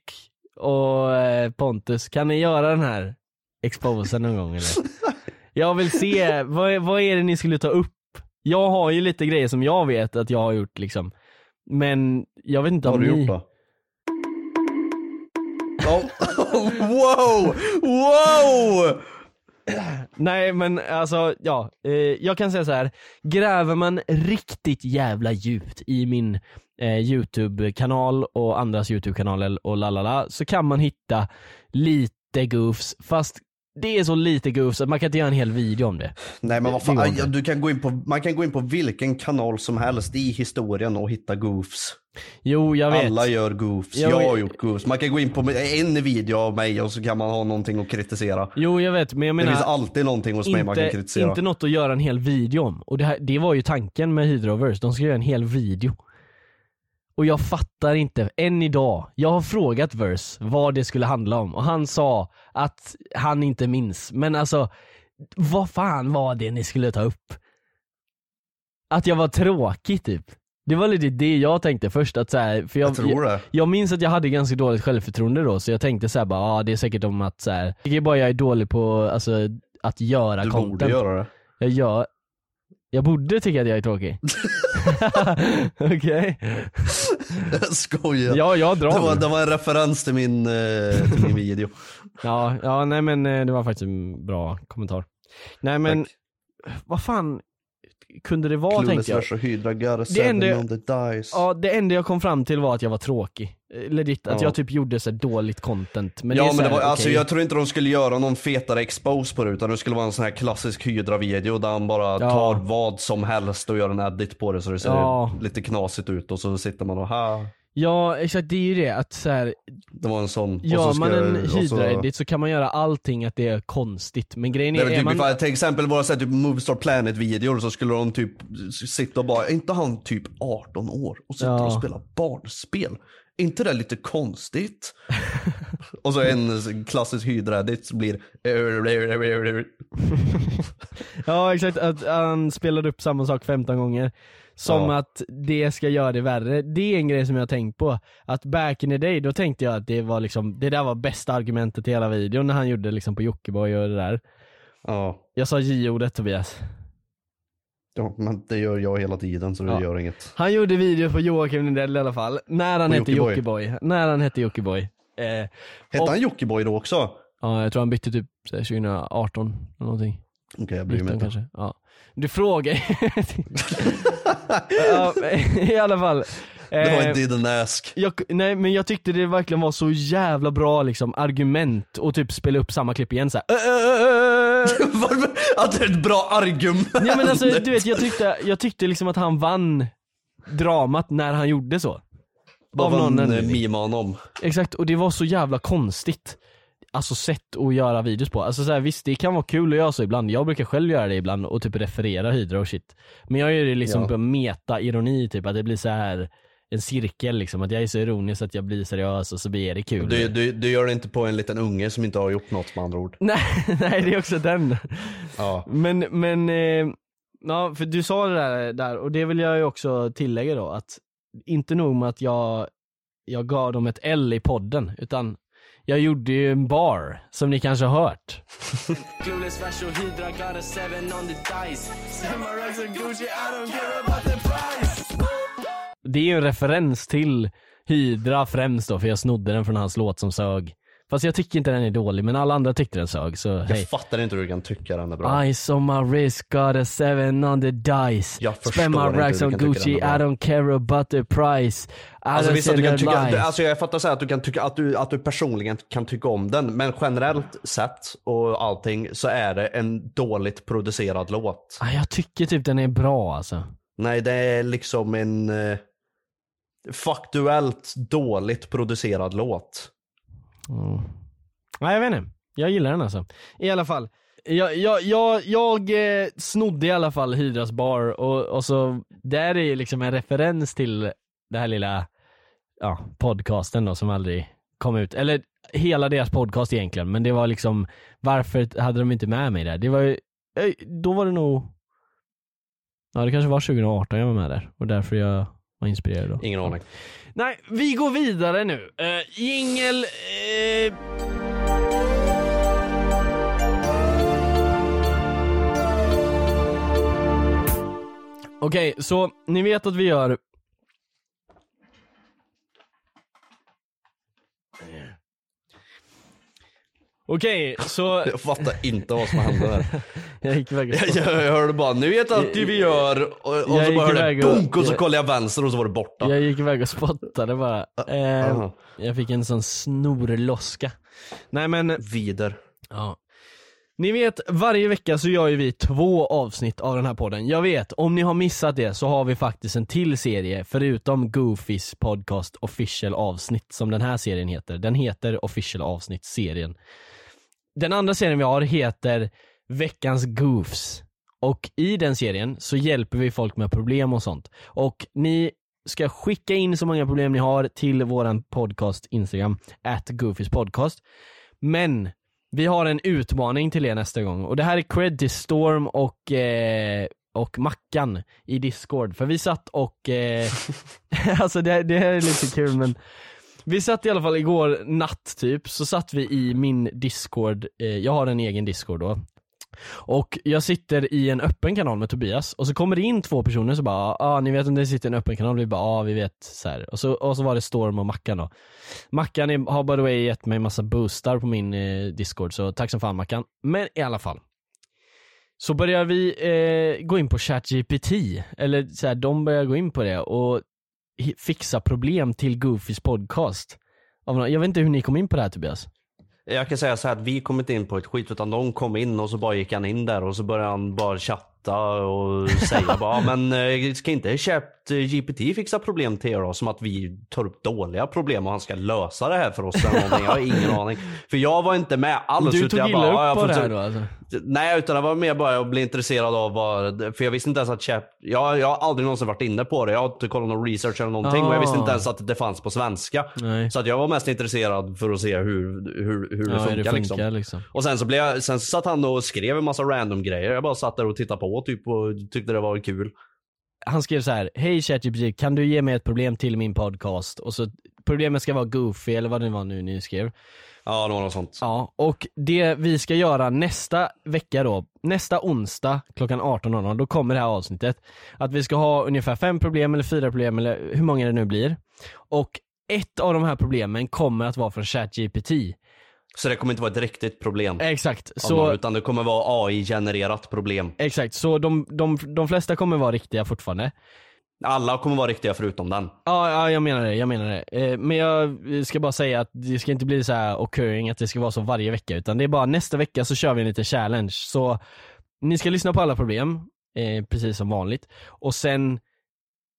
[SPEAKER 2] och eh, Pontus, kan ni göra den här exposen någon gång eller? Jag vill se, vad, är- vad är det ni skulle ta upp? Jag har ju lite grejer som jag vet att jag har gjort liksom. Men jag vet inte
[SPEAKER 1] Vad
[SPEAKER 2] om
[SPEAKER 1] har du
[SPEAKER 2] ni...
[SPEAKER 1] gjort då? Ja. wow! Wow!
[SPEAKER 2] Nej men alltså, ja. Eh, jag kan säga så här. gräver man riktigt jävla djupt i min eh, YouTube-kanal och andras YouTube-kanaler och lalala, så kan man hitta lite goofs, fast det är så lite goofs att man kan inte göra en hel video om det.
[SPEAKER 1] Nej men vad
[SPEAKER 2] Det går
[SPEAKER 1] fan,
[SPEAKER 2] inte.
[SPEAKER 1] ja, du kan gå in på, man kan gå in på vilken kanal som helst i historien och hitta goofs.
[SPEAKER 2] Jo, jag vet.
[SPEAKER 1] Alla gör goofs,
[SPEAKER 2] Jo,
[SPEAKER 1] jag har
[SPEAKER 2] jag-
[SPEAKER 1] gjort goofs. Man kan gå in på en video av mig och så kan man ha någonting att kritisera.
[SPEAKER 2] Jo, jag vet, men jag
[SPEAKER 1] Det
[SPEAKER 2] menar...
[SPEAKER 1] finns alltid någonting hos mig man kan
[SPEAKER 2] inte,
[SPEAKER 1] kritisera.
[SPEAKER 2] inte något att göra en hel video om. Och det, här, det var ju tanken med Hydroverse, de ska göra en hel video. Och jag fattar inte, än idag. Jag har frågat Verse vad det skulle handla om och han sa att han inte minns. Men alltså, vad fan var det ni skulle ta upp? Att jag var tråkig typ. Det var lite det jag tänkte först, att så här, för jag,
[SPEAKER 1] Jag tror det.
[SPEAKER 2] jag minns att jag hade ganska dåligt självförtroende då, så jag tänkte såhär bara, ja ah, det är säkert om att såhär, det är bara jag är dålig på alltså, att göra
[SPEAKER 1] Du
[SPEAKER 2] content.
[SPEAKER 1] borde göra det.
[SPEAKER 2] Jag gör... Jag borde tycka att jag är tråkig. Okej.
[SPEAKER 1] Jag skojar.
[SPEAKER 2] Ja, jag drar
[SPEAKER 1] det, var,
[SPEAKER 2] nu.
[SPEAKER 1] det var en referens till min, eh, till min video.
[SPEAKER 2] Ja, ja, nej men eh, det var faktiskt en bra kommentar. Nej men, vad fan kunde det vara
[SPEAKER 1] Clueless
[SPEAKER 2] tänkte jag.
[SPEAKER 1] vs Hydra Gara
[SPEAKER 2] Det enda-
[SPEAKER 1] 7 on the dice.
[SPEAKER 2] Ja, det enda jag kom fram till var att jag var tråkig. Eh, Legit, att
[SPEAKER 1] Ja.
[SPEAKER 2] jag typ gjorde så här dåligt content. Men det
[SPEAKER 1] ja
[SPEAKER 2] är
[SPEAKER 1] men det
[SPEAKER 2] så
[SPEAKER 1] var,
[SPEAKER 2] här,
[SPEAKER 1] alltså
[SPEAKER 2] okej.
[SPEAKER 1] jag tror inte de skulle göra någon fetare expose på det utan det skulle vara en sån här klassisk Hydra-video där han bara
[SPEAKER 2] Ja.
[SPEAKER 1] tar vad som helst och gör en edit på det så det ser
[SPEAKER 2] Ja.
[SPEAKER 1] lite knasigt ut och så sitter man och ha.
[SPEAKER 2] Ja, exakt, det är ju det att så här,
[SPEAKER 1] Det var en sån. och
[SPEAKER 2] Gör
[SPEAKER 1] så
[SPEAKER 2] man
[SPEAKER 1] ska-
[SPEAKER 2] en
[SPEAKER 1] och så-
[SPEAKER 2] hydra-edit så kan man göra allting att det är konstigt, men grejen
[SPEAKER 1] Nej,
[SPEAKER 2] är,
[SPEAKER 1] men
[SPEAKER 2] är
[SPEAKER 1] typ,
[SPEAKER 2] man...
[SPEAKER 1] ifall, till exempel våra så här, typ Movistar Planet-videor så skulle de typ s- sitta och bara, är inte han typ 18 år och sitter
[SPEAKER 2] Ja.
[SPEAKER 1] och spelar barnspel? Är inte det lite konstigt? och så en klassisk hydra-edit blir
[SPEAKER 2] Ja exakt, att han spelar upp samma sak 15 gånger. Som
[SPEAKER 1] Ja.
[SPEAKER 2] att det ska göra det värre. Det är en grej som jag har tänkt på. Att back in the day, då tänkte jag att det var liksom, det där var bästa argumentet i hela videon när han gjorde liksom på Jockiboi och det där.
[SPEAKER 1] Ja.
[SPEAKER 2] Jag sa J-ordet Tobias.
[SPEAKER 1] Ja, men det gör jag hela tiden så det
[SPEAKER 2] Ja.
[SPEAKER 1] gör inget.
[SPEAKER 2] Han gjorde video på Joakim Lindell i alla fall, när han
[SPEAKER 1] På
[SPEAKER 2] hette
[SPEAKER 1] Jockiboi.
[SPEAKER 2] Jockiboi. När han hette Jockiboi. Eh,
[SPEAKER 1] Hette
[SPEAKER 2] Och-
[SPEAKER 1] han Jockiboi då också? Okej,
[SPEAKER 2] ja, jag tror han bytte typ så här 2018 eller någonting.
[SPEAKER 1] jag bryr mig
[SPEAKER 2] 19
[SPEAKER 1] inte.
[SPEAKER 2] kanske. Ja. Du frågar ja, men I alla fall.
[SPEAKER 1] Det var
[SPEAKER 2] Eh,
[SPEAKER 1] en didn't ask.
[SPEAKER 2] jag, nej men jag tyckte det verkligen var så jävla bra liksom argument och typ spela upp samma klipp igen så här. "Ö, ö, ö, ö, ö."
[SPEAKER 1] Varför? Att det är ett bra argument!
[SPEAKER 2] Ja eh, men alltså du vet jag tyckte, jag tyckte liksom att han vann dramat när han gjorde så.
[SPEAKER 1] Vad
[SPEAKER 2] av någon
[SPEAKER 1] vann eh,
[SPEAKER 2] anledning.
[SPEAKER 1] Mima honom?
[SPEAKER 2] Exakt och det var så jävla konstigt. Alltså sätt att göra videos på. Alltså så här, visst det kan vara kul att göra så ibland. Jag brukar själv göra det ibland och typ referera hydra och shit. Men jag gör det liksom
[SPEAKER 1] Ja.
[SPEAKER 2] på meta-ironi typ att det blir så här en cirkel liksom, att jag är så ironisk att jag blir seriös och så blir det kul.
[SPEAKER 1] Du, du, du gör det inte på en liten unge som inte har gjort något med andra ord.
[SPEAKER 2] Nej, nej, det är också den.
[SPEAKER 1] Ja.
[SPEAKER 2] Men, men, eh, ja, för du sa det där, där och det vill jag ju också tillägga då att inte nog med att jag, jag gav dem ett L i podden, utan jag gjorde ju en bar, som ni kanske har hört.
[SPEAKER 7] Clueless Rational Hydra got a seven on the dice. Samurais and Gucci, I don't care about the price.
[SPEAKER 2] Det är ju en referens till Hydra främst då, för jag snodde den från hans låt som sög. Fast jag tycker inte den är dålig, men alla andra tyckte den sög, så
[SPEAKER 1] Jag
[SPEAKER 2] hej.
[SPEAKER 1] fattar inte hur du kan tycka den är bra.
[SPEAKER 2] I saw my wrist got a seven on the dice.
[SPEAKER 1] Jag förstår
[SPEAKER 2] Spend my
[SPEAKER 1] inte hur
[SPEAKER 2] racks
[SPEAKER 1] du
[SPEAKER 2] on
[SPEAKER 1] kan tycka
[SPEAKER 2] Gucci, I
[SPEAKER 1] den är bra.
[SPEAKER 2] don't care about the price. I
[SPEAKER 1] Alltså,
[SPEAKER 2] don't
[SPEAKER 1] visst att du
[SPEAKER 2] sell
[SPEAKER 1] kan
[SPEAKER 2] no
[SPEAKER 1] tycka,
[SPEAKER 2] lies.
[SPEAKER 1] alltså jag fattar så här att du kan tycka att du, att du personligen kan tycka om den, men generellt sett och allting så är det en dåligt producerad låt.
[SPEAKER 2] Ah, jag tycker typ den är bra alltså.
[SPEAKER 1] Nej, det är liksom en eh, faktuellt dåligt producerad låt.
[SPEAKER 2] Mm. Nej, jag vet inte. Jag gillar den alltså. I alla fall. Jag, jag, jag, jag eh, snodde i alla fall Hydras bar och, och så, där är ju liksom en referens till det här lilla, ja, podcasten då som aldrig kom ut. Eller hela deras podcast egentligen, men det var liksom, varför hade de inte med mig där? Det var ju, eh, då var det nog, ja det kanske var 2018 jag var med där och därför jag var inspirerad då.
[SPEAKER 1] Ingen aning.
[SPEAKER 2] Nej, vi går vidare nu. Uh, jingel... eh, Okej, så ni vet att vi gör... Okej, så...
[SPEAKER 1] Jag fattar inte vad som hände där.
[SPEAKER 2] Jag gick iväg och
[SPEAKER 1] Jag, jag, jag hörde bara, nu vet jag att vi gör, och, och
[SPEAKER 2] Jag
[SPEAKER 1] så
[SPEAKER 2] gick
[SPEAKER 1] bara hörde
[SPEAKER 2] iväg
[SPEAKER 1] jag
[SPEAKER 2] och-
[SPEAKER 1] dunk och så
[SPEAKER 2] jag-
[SPEAKER 1] kollade jag vänster och så var det borta.
[SPEAKER 2] Jag gick iväg och spottade bara. Eh,
[SPEAKER 1] aha.
[SPEAKER 2] Jag fick en sån snorloska. Nej men,
[SPEAKER 1] Vider.
[SPEAKER 2] ja. Ni vet, varje vecka så gör ju vi två avsnitt av den här podden. Jag vet, om ni har missat det så har vi faktiskt en till serie förutom Goofys podcast official avsnitt som den här serien heter. Den heter official avsnitt serien. Den andra serien vi har heter Veckans Goofs. Och i den serien så hjälper vi folk med problem och sånt. Och ni ska skicka in så många problem ni har till våran podcast Instagram, at Goofys podcast. Men vi har en utmaning till er nästa gång och det här är cred till Storm och, eh, och Mackan i Discord. För vi satt och, eh, alltså det, det här är lite kul men vi satt i alla fall igår natt typ, så satt vi i min discord, eh, jag har en egen discord då och jag sitter i en öppen kanal med Tobias och så kommer det in två personer så bara ah, ni vet om det sitter i en öppen kanal, vi bara ah, vi vet så här. Och, så, och så var det Storm och Mackan då. Mackan är, har by the way gett mig massa boostar på min eh, discord så tack som fan Mackan. Men i alla fall. Så börjar vi eh, gå in på ChatGPT, eller så här, de börjar gå in på det och hi- fixa problem till Goofys podcast. Av nå- Jag vet inte hur ni kom in på det här Tobias.
[SPEAKER 1] Jag kan säga så här att vi kom inte in på ett skit utan de kom in och så bara gick han in där och så började han bara chatta och säga bara "Ja, men eh, ska inte Chat eh, GPT fixa problem till er då? Som att vi tar upp dåliga problem och han ska lösa det här för oss eller någonting. Jag har ingen aning. För jag var inte med alls.
[SPEAKER 2] du
[SPEAKER 1] utan
[SPEAKER 2] tog
[SPEAKER 1] jag bara,
[SPEAKER 2] illa
[SPEAKER 1] "Ja, jag får
[SPEAKER 2] upp på det här
[SPEAKER 1] inte-
[SPEAKER 2] då alltså?
[SPEAKER 1] Nej, utan det var mer bara jag blev intresserad av vad, för jag visste inte ens att Chat, jag, jag har aldrig någonsin varit inne på det. Jag har inte kollat någon research eller någonting och jag visste inte
[SPEAKER 2] Ah.
[SPEAKER 1] ens att det fanns på svenska.
[SPEAKER 2] Nej.
[SPEAKER 1] Så att jag var mest intresserad för att se hur, hur, hur det,
[SPEAKER 2] Ja,
[SPEAKER 1] funkar,
[SPEAKER 2] det
[SPEAKER 1] liksom. Och sen så, blev jag, sen så satt han och skrev en massa random grejer. Jag bara satt där och tittade på typ och tyckte det var kul.
[SPEAKER 2] han skrev så här: Hej ChatGPT, kan du ge mig ett problem till min podcast? Och så problemet ska vara goofy eller vad det var nu ni skrev.
[SPEAKER 1] Ja, det var något sånt.
[SPEAKER 2] Ja, och det vi ska göra nästa vecka då, nästa onsdag klockan 18.00, då kommer det här avsnittet. Att vi ska ha ungefär fem problem eller fyra problem eller hur många det nu blir. Och ett av de här problemen kommer att vara från ChatGPT.
[SPEAKER 1] Så det kommer inte vara ett riktigt problem.
[SPEAKER 2] Exakt,
[SPEAKER 1] av någon,
[SPEAKER 2] Eh, så
[SPEAKER 1] Utan det kommer vara AI-genererat problem.
[SPEAKER 2] Exakt, så de, de, de flesta kommer vara riktiga fortfarande.
[SPEAKER 1] Alla kommer vara riktiga förutom den.
[SPEAKER 2] Ja, ja, jag menar det, jag menar det. Eh, Men jag ska bara säga att det ska inte bli så här occurring att det ska vara så varje vecka utan det är bara nästa vecka så kör vi en liten challenge. Så ni ska lyssna på alla problem, eh, precis som vanligt. Och sen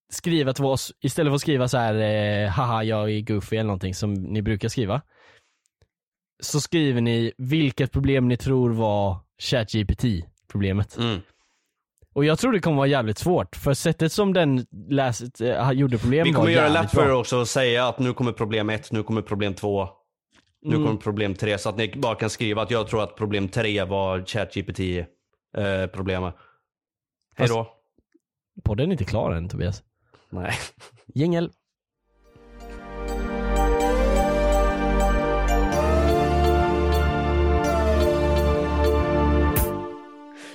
[SPEAKER 2] skriva till oss, istället för att skriva så här eh, haha jag är goofy eller någonting som ni brukar skriva. Så skriver ni vilket problem ni tror var ChatGPT problemet.
[SPEAKER 1] Mm.
[SPEAKER 2] Och jag tror det kommer vara jävligt svårt, för sättet som den läst, eh, gjorde problem
[SPEAKER 1] Vi kommer
[SPEAKER 2] var
[SPEAKER 1] göra det
[SPEAKER 2] jävligt
[SPEAKER 1] lätt för er
[SPEAKER 2] bra.
[SPEAKER 1] också att säga att nu kommer problem ett, nu kommer problem två. Nu
[SPEAKER 2] Mm.
[SPEAKER 1] kommer problem tre. Så att ni bara kan skriva att jag tror att problem tre var ChatGPT eh, problemet. Hej då.
[SPEAKER 2] Podden är inte klar än Tobias.
[SPEAKER 1] Nej.
[SPEAKER 2] Jingel.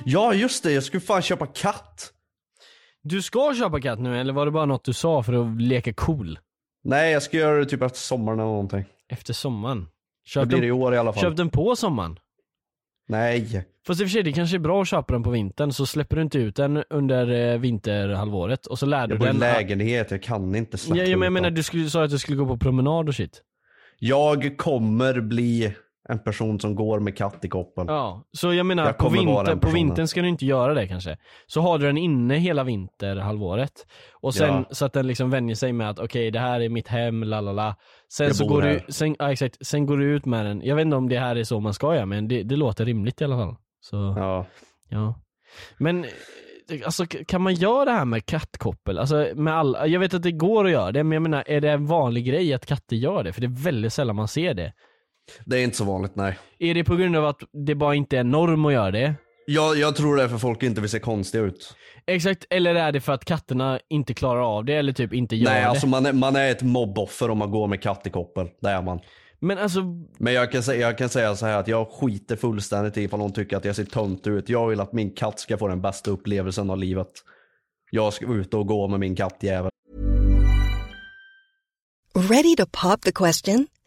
[SPEAKER 1] Ja just det, jag skulle fan köpa katt.
[SPEAKER 2] Du ska köpa katt nu eller var det bara något du sa för att leka cool?
[SPEAKER 1] Nej jag ska göra det typ efter sommaren eller någonting.
[SPEAKER 2] Efter sommaren?
[SPEAKER 1] Det
[SPEAKER 2] Köp,
[SPEAKER 1] blir
[SPEAKER 2] den,
[SPEAKER 1] i år i alla fall.
[SPEAKER 2] köp den på sommaren?
[SPEAKER 1] Nej.
[SPEAKER 2] Fast i och för sig det kanske är bra att köpa den på vintern så släpper du inte ut den under eh, vinterhalvåret och så lär du
[SPEAKER 1] Jag bor i
[SPEAKER 2] den
[SPEAKER 1] lägenhet, jag kan inte
[SPEAKER 2] Ja,
[SPEAKER 1] släppa
[SPEAKER 2] ja, men jag
[SPEAKER 1] ut
[SPEAKER 2] menar
[SPEAKER 1] dem.
[SPEAKER 2] du skulle, sa att du skulle gå på promenad och shit.
[SPEAKER 1] Jag kommer bli en person som går med katt i koppen.
[SPEAKER 2] Ja, så jag menar
[SPEAKER 1] Jag
[SPEAKER 2] på,
[SPEAKER 1] kommer vara
[SPEAKER 2] vinter,
[SPEAKER 1] den
[SPEAKER 2] på
[SPEAKER 1] personen.
[SPEAKER 2] vintern ska du inte göra det kanske. Så har du den inne hela vinterhalvåret. Och sen
[SPEAKER 1] Ja.
[SPEAKER 2] så att den liksom vänjer sig med att okej det här är mitt hem, la la la. Sen
[SPEAKER 1] Jag
[SPEAKER 2] så
[SPEAKER 1] bor
[SPEAKER 2] går
[SPEAKER 1] här.
[SPEAKER 2] du, sen, ja, exakt, sen går du ut med den. Jag vet inte om det här är så man ska göra men det, det låter rimligt i alla fall. Så, ja.
[SPEAKER 1] Ja.
[SPEAKER 2] Men eh, alltså k- kan man göra det här med kattkoppel? Alltså med alla, jag vet att det går att göra det men jag menar är det en vanlig grej att katter gör det? För det är väldigt sällan man ser det.
[SPEAKER 1] Det är inte så vanligt nej.
[SPEAKER 2] Är det på grund av att det bara inte är norm att göra det?
[SPEAKER 1] Jag, jag tror det är för folk inte vill se konstiga ut.
[SPEAKER 2] Exakt, eller är det för att katterna inte klarar av det eller typ inte gör
[SPEAKER 1] Nej,
[SPEAKER 2] det?
[SPEAKER 1] alltså man är, man är ett mobboffer om man går med katt i koppel. Det är man.
[SPEAKER 2] Men alltså,
[SPEAKER 1] Men jag kan, säga, jag kan säga så här att jag skiter fullständigt i ifall någon tycker att jag ser tönt ut. Jag vill att min katt ska få den bästa upplevelsen av livet. Jag ska ut och gå med min kattjävel.
[SPEAKER 8] Ready to pop the question?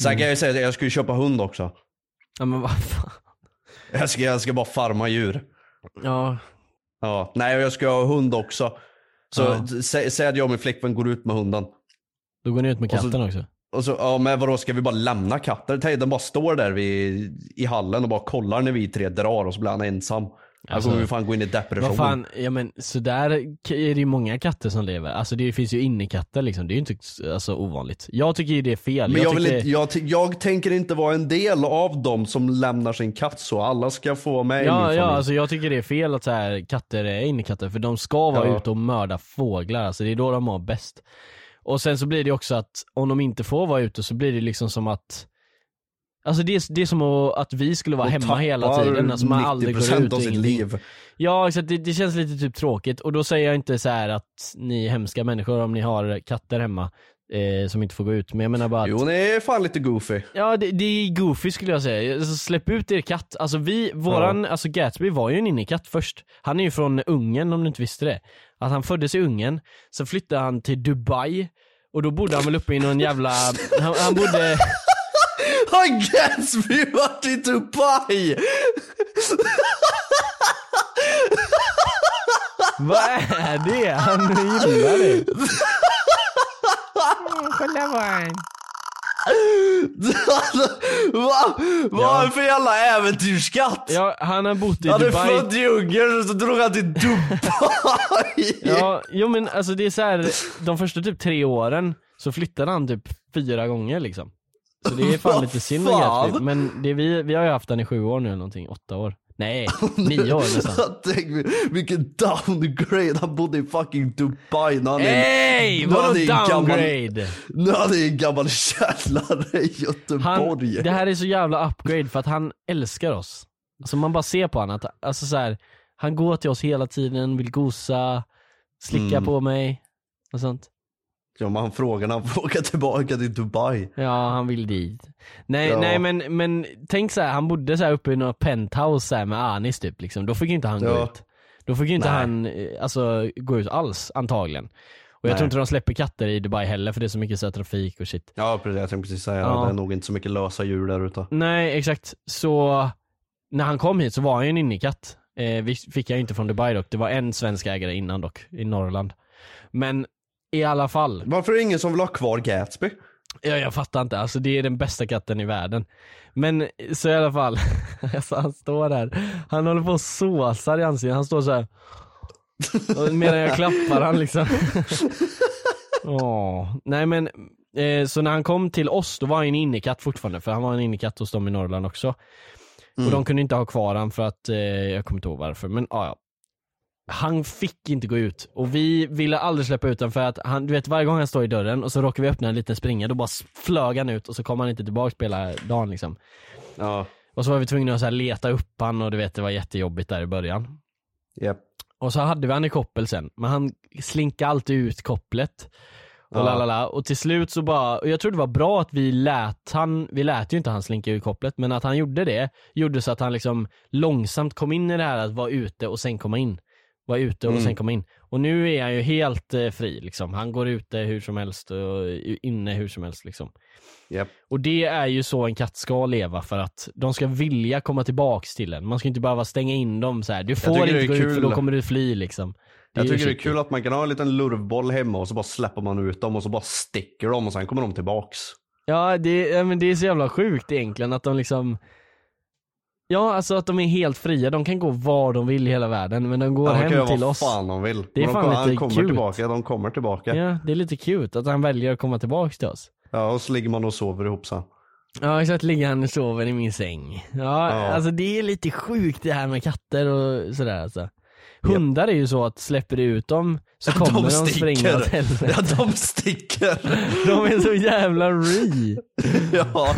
[SPEAKER 1] Sen
[SPEAKER 2] Mm.
[SPEAKER 1] kan jag ju säga att jag skulle köpa hund också.
[SPEAKER 2] ja men vad fan.
[SPEAKER 1] Jag ska, jag ska bara farma djur.
[SPEAKER 2] Ja.
[SPEAKER 1] Ja, nej och jag ska ha hund också. Så
[SPEAKER 2] Ja.
[SPEAKER 1] t- sä, säg att jag och min flickvän går ut med hunden.
[SPEAKER 2] Då går ni ut med
[SPEAKER 1] Och så-
[SPEAKER 2] katten också.
[SPEAKER 1] Och så, ja men vadå ska vi bara lämna katten? Tänk, den bara står där vid, i hallen och bara kollar när vi tre drar och så blir han ensam. Här
[SPEAKER 2] Alltså,
[SPEAKER 1] kommer vi fan gå in i depression.
[SPEAKER 2] Vad fan, ja men sådär k- är det ju många katter som lever. Alltså det finns ju innekatter liksom, det är ju inte alltså, ovanligt. Jag tycker ju det är fel.
[SPEAKER 1] Men jag, vill
[SPEAKER 2] tycker...
[SPEAKER 1] inte, jag, t- jag tänker inte vara en del av dem som lämnar sin katt så. Alla ska få vara med i min
[SPEAKER 2] Ja,
[SPEAKER 1] familj.
[SPEAKER 2] ja alltså jag tycker det är fel att så här, katter är innekatter för de ska vara
[SPEAKER 1] Ja.
[SPEAKER 2] ute och mörda fåglar, alltså det är då de mår bäst. Och sen så blir det också att om de inte får vara ute så blir det liksom som att Alltså det är, det är som att- att vi skulle vara
[SPEAKER 1] Och
[SPEAKER 2] hemma hela
[SPEAKER 1] tappar
[SPEAKER 2] tiden, alltså man aldrig går ut
[SPEAKER 1] 90% av
[SPEAKER 2] och
[SPEAKER 1] sitt
[SPEAKER 2] ingenting.
[SPEAKER 1] liv.
[SPEAKER 2] Ja exakt, det, det känns lite typ tråkigt och då säger jag inte så här att ni är hemska människor om ni har katter hemma eh, som inte får gå ut, men jag menar bara att
[SPEAKER 1] Jo, ni är fan lite goofy.
[SPEAKER 2] Ja det, det är goofy skulle jag säga, alltså, släpp ut er katt. Alltså vi, våran, alltså Gatsby var ju en innekatt först. Han är ju från Ungern om du inte visste det. Att han föddes i Ungern, sen flyttade han till Dubai och då bodde han väl uppe i någon jävla, han, han bodde,
[SPEAKER 1] Har Gatsby varit i Dubai?
[SPEAKER 2] vad är det? Han gillar det. Kolla på han.
[SPEAKER 1] Va? Vad har han för jävla äventyrskatt?
[SPEAKER 2] Ja, han har bott i
[SPEAKER 1] Han är
[SPEAKER 2] Dubai.
[SPEAKER 1] född i Ungern och så drog han till Dubai.
[SPEAKER 2] Ja, jo men alltså det är så här, de första typ tre åren så flyttade han typ fyra gånger liksom. Så det är fan
[SPEAKER 1] Vad
[SPEAKER 2] lite synd med
[SPEAKER 1] fan?
[SPEAKER 2] Gatsby, men det är vi, vi har ju haft han i sju år nu eller någonting, åtta år. Nej, nio år nästan.
[SPEAKER 1] Tänk vil- vilken downgrade. Han bodde i fucking Dubai. när han är-
[SPEAKER 2] Eh! Ey,
[SPEAKER 1] när
[SPEAKER 2] vadå
[SPEAKER 1] han är i gammal-
[SPEAKER 2] downgrade?
[SPEAKER 1] Nu hade jag en gammal källare i
[SPEAKER 2] Han,
[SPEAKER 1] Göteborg.
[SPEAKER 2] det här är så jävla upgrade för att han älskar oss. Alltså man bara ser på honom att, alltså så här, han går till oss hela tiden, vill gosa, slicka
[SPEAKER 1] Mm.
[SPEAKER 2] på mig och sånt.
[SPEAKER 1] Ja men han frågar när han får åka tillbaka till Dubai.
[SPEAKER 2] Ja, han vill dit. Nej,
[SPEAKER 1] Ja.
[SPEAKER 2] nej men, men tänk så här, han bodde så här uppe i några penthouse så här med Anis typ liksom. Då fick ju inte han gå
[SPEAKER 1] Ja.
[SPEAKER 2] ut. Då fick ju inte
[SPEAKER 1] Nej.
[SPEAKER 2] han eh, alltså, gå ut alls antagligen. Och jag
[SPEAKER 1] Nej.
[SPEAKER 2] tror inte de släpper katter i Dubai heller för det är så mycket så här trafik och shit.
[SPEAKER 1] Ja precis, jag tänkte precis säga
[SPEAKER 2] Ja.
[SPEAKER 1] det. Det är nog inte så mycket lösa djur där ute.
[SPEAKER 2] Nej exakt, så när han kom hit så var han ju en innekatt. Eh, vi fick jag ju inte från Dubai dock, det var en svensk ägare innan dock, i Norrland. Men i alla fall.
[SPEAKER 1] Varför är det ingen som vill ha kvar Gatsby?
[SPEAKER 2] Ja, jag fattar inte, alltså det är den bästa katten i världen. Men så i alla fall, alltså, han står där, han håller på och såsar i ansiktet, han står så här. Och medan jag klappar han liksom. Åh. Nej men, eh, så när han kom till oss då var han en innekatt fortfarande för han var en innekatt hos dem i Norrland också. Och de kunde inte ha kvar han för att, eh, jag kommer inte ihåg varför men ah, ja. Han fick inte gå ut och vi ville aldrig släppa ut honom för att han, du vet varje gång han står i dörren och så råkar vi öppna en liten springa då bara flög han ut och så kom han inte tillbaka på hela dagen liksom.
[SPEAKER 1] Ja.
[SPEAKER 2] Och så var vi tvungna att så här leta upp han och du vet det var jättejobbigt där i början.
[SPEAKER 1] Japp.
[SPEAKER 2] Och så hade vi han i koppel sen, men han slinkade alltid ut kopplet. Och,
[SPEAKER 1] Ja.
[SPEAKER 2] lalala. och till slut så bara, och jag tror det var bra att vi lät han, vi lät ju inte han slinka ur kopplet, men att han gjorde det, gjorde så att han liksom långsamt kom in i det här att vara ute och sen komma in. Vara ute och
[SPEAKER 1] Mm.
[SPEAKER 2] sen komma in. Och nu är han ju helt eh, fri liksom. Han går ute hur som helst och inne hur som helst liksom.
[SPEAKER 1] Japp.
[SPEAKER 2] Och det är ju så en katt ska leva för att de ska vilja komma tillbaks till en. Man ska inte behöva stänga in dem så här. du
[SPEAKER 1] Jag
[SPEAKER 2] får
[SPEAKER 1] tycker
[SPEAKER 2] inte
[SPEAKER 1] det är
[SPEAKER 2] gå ut för
[SPEAKER 1] kul.
[SPEAKER 2] då kommer du fly liksom.
[SPEAKER 1] Jag
[SPEAKER 2] ju
[SPEAKER 1] tycker det är
[SPEAKER 2] shitty.
[SPEAKER 1] kul att man kan ha en liten lurvboll hemma och så bara släpper man ut dem och så bara sticker de och sen kommer de tillbaks.
[SPEAKER 2] Ja, det, ja, men det är så jävla sjukt egentligen att de liksom Ja, alltså att de är helt fria. De kan gå var de vill i hela världen men de går
[SPEAKER 1] Ja, de kan
[SPEAKER 2] hem
[SPEAKER 1] göra
[SPEAKER 2] till
[SPEAKER 1] vad
[SPEAKER 2] oss.
[SPEAKER 1] fan de vill.
[SPEAKER 2] Det
[SPEAKER 1] Men
[SPEAKER 2] är
[SPEAKER 1] de
[SPEAKER 2] fan
[SPEAKER 1] kommer- han
[SPEAKER 2] lite
[SPEAKER 1] kommer
[SPEAKER 2] cute.
[SPEAKER 1] tillbaka, de kommer tillbaka. Ja.
[SPEAKER 2] Ja, det är lite cute att han väljer att komma tillbaks till oss.
[SPEAKER 1] och så ligger man och sover ihop sen.
[SPEAKER 2] Ja, exakt. Ligger han och sover i min säng. Ja, alltså det är lite sjukt det här med katter och sådär alltså. Hundar är ju så att släpper du ut dem så kommer de,
[SPEAKER 1] sticker.
[SPEAKER 2] springa åt helvete.
[SPEAKER 1] Ja, de sticker.
[SPEAKER 2] De är så jävla re.
[SPEAKER 1] ja.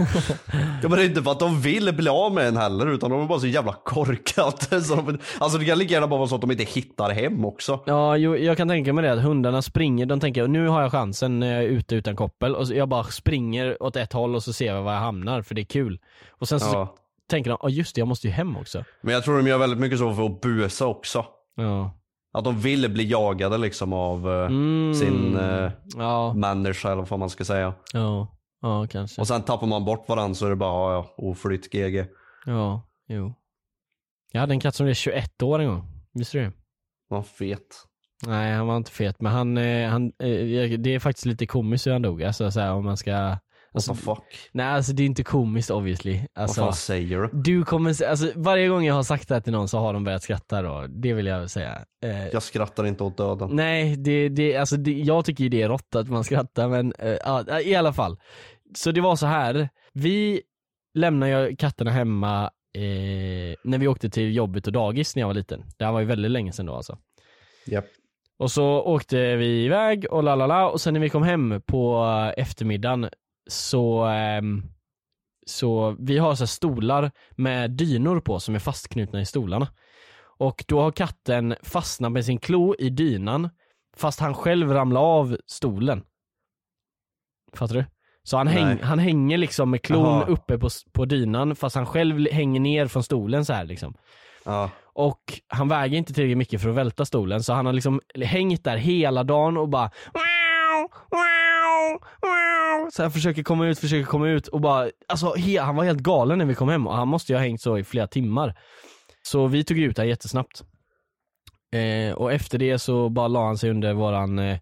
[SPEAKER 1] ja, men det är inte för att de vill bli av med en heller utan de är bara så jävla korkade. Så de, alltså det kan lika gärna bara vara så att de inte hittar hem också.
[SPEAKER 2] Ja, jo, jag kan tänka mig det att hundarna springer, de tänker nu har jag chansen när jag är ute utan koppel och så jag bara springer åt ett håll och så ser jag var jag hamnar för det är kul. Och sen så
[SPEAKER 1] Ja.
[SPEAKER 2] tänker de, ja just det jag måste ju hem också.
[SPEAKER 1] Men jag tror de gör väldigt mycket så för att busa också.
[SPEAKER 2] Ja.
[SPEAKER 1] Att de vill bli jagade liksom av eh,
[SPEAKER 2] Mm.
[SPEAKER 1] sin eh,
[SPEAKER 2] Ja,
[SPEAKER 1] människa eller vad man ska säga.
[SPEAKER 2] ja, ja kanske.
[SPEAKER 1] Och sen tappar man bort varandra så är det bara ja, ja, oflytt GG.
[SPEAKER 2] Ja, jo. Jag hade en katt som blev 21 år en gång, visste du det?
[SPEAKER 1] Man fet.
[SPEAKER 2] Nej han var inte fet men han, eh, han eh, jag- det är faktiskt lite komiskt hur han dog alltså så här, om man ska Alltså,
[SPEAKER 1] What the fuck?
[SPEAKER 2] Nej alltså det är inte komiskt obviously. Alltså,
[SPEAKER 1] vad fan säger du?
[SPEAKER 2] Du kommer, se- alltså varje gång jag har sagt det här till någon så har de börjat skratta då, det vill jag säga. Eh,
[SPEAKER 1] Jag skrattar inte åt döden.
[SPEAKER 2] Nej, det, det, alltså det, jag tycker ju det är rått att man skrattar men eh, ja, i alla fall. Så det var så här. vi lämnade ju katterna hemma eh, när vi åkte till jobbet och dagis när jag var liten. Det här var ju väldigt länge sedan då alltså.
[SPEAKER 1] Japp.
[SPEAKER 2] Och så åkte vi iväg och la la la och sen när vi kom hem på eh, eftermiddagen så ehm, så vi har så här stolar med dynor på som är fastknutna i stolarna. Och då har katten fastnat med sin klo i dynan fast han själv ramlade av stolen. Fattar du? Så han, häng,
[SPEAKER 1] Nej.
[SPEAKER 2] han hänger liksom med klon
[SPEAKER 1] Jaha.
[SPEAKER 2] uppe på, s- på dynan fast han själv li- hänger ner från stolen så här liksom.
[SPEAKER 1] Ja.
[SPEAKER 2] Och han väger inte tillräckligt mycket för att välta stolen så han har liksom hängt där hela dagen och bara "Wow, wow, wow." så här försöker komma ut, försöker komma ut och bara, alltså he, han var helt galen när vi kom hem och han måste ju ha hängt så i flera timmar. Så vi tog ut det här jättesnabbt. Eh, och efter det så bara la han sig under våran, eh,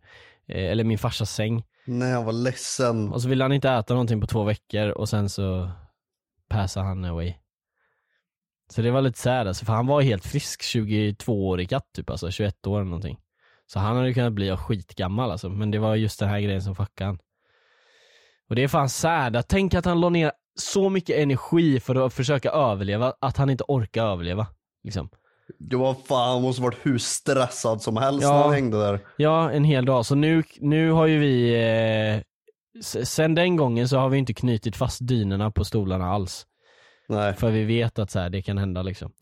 [SPEAKER 2] eh, eller min farsas säng.
[SPEAKER 1] Nej, han var ledsen.
[SPEAKER 2] Och så ville han inte äta någonting på två veckor och sen så passade han away. Så det var lite sad alltså, för han var helt frisk 22-årig katt typ, alltså 21 år eller någonting. Så han hade ju kunnat bli skitgammal alltså, men det var just den här grejen som fuckade han. Och det är fan sad, att tänk att han la ner så mycket energi för att försöka överleva, att han inte orkar överleva. Liksom.
[SPEAKER 1] Jo, vad fan, han måste varit hur stressad som helst
[SPEAKER 2] Ja.
[SPEAKER 1] när han hängde där.
[SPEAKER 2] Ja, en hel dag. Så nu, nu har ju vi, eh, s- sen den gången så har vi inte knutit fast dynorna på stolarna alls. För vi vet att så här, det kan hända liksom.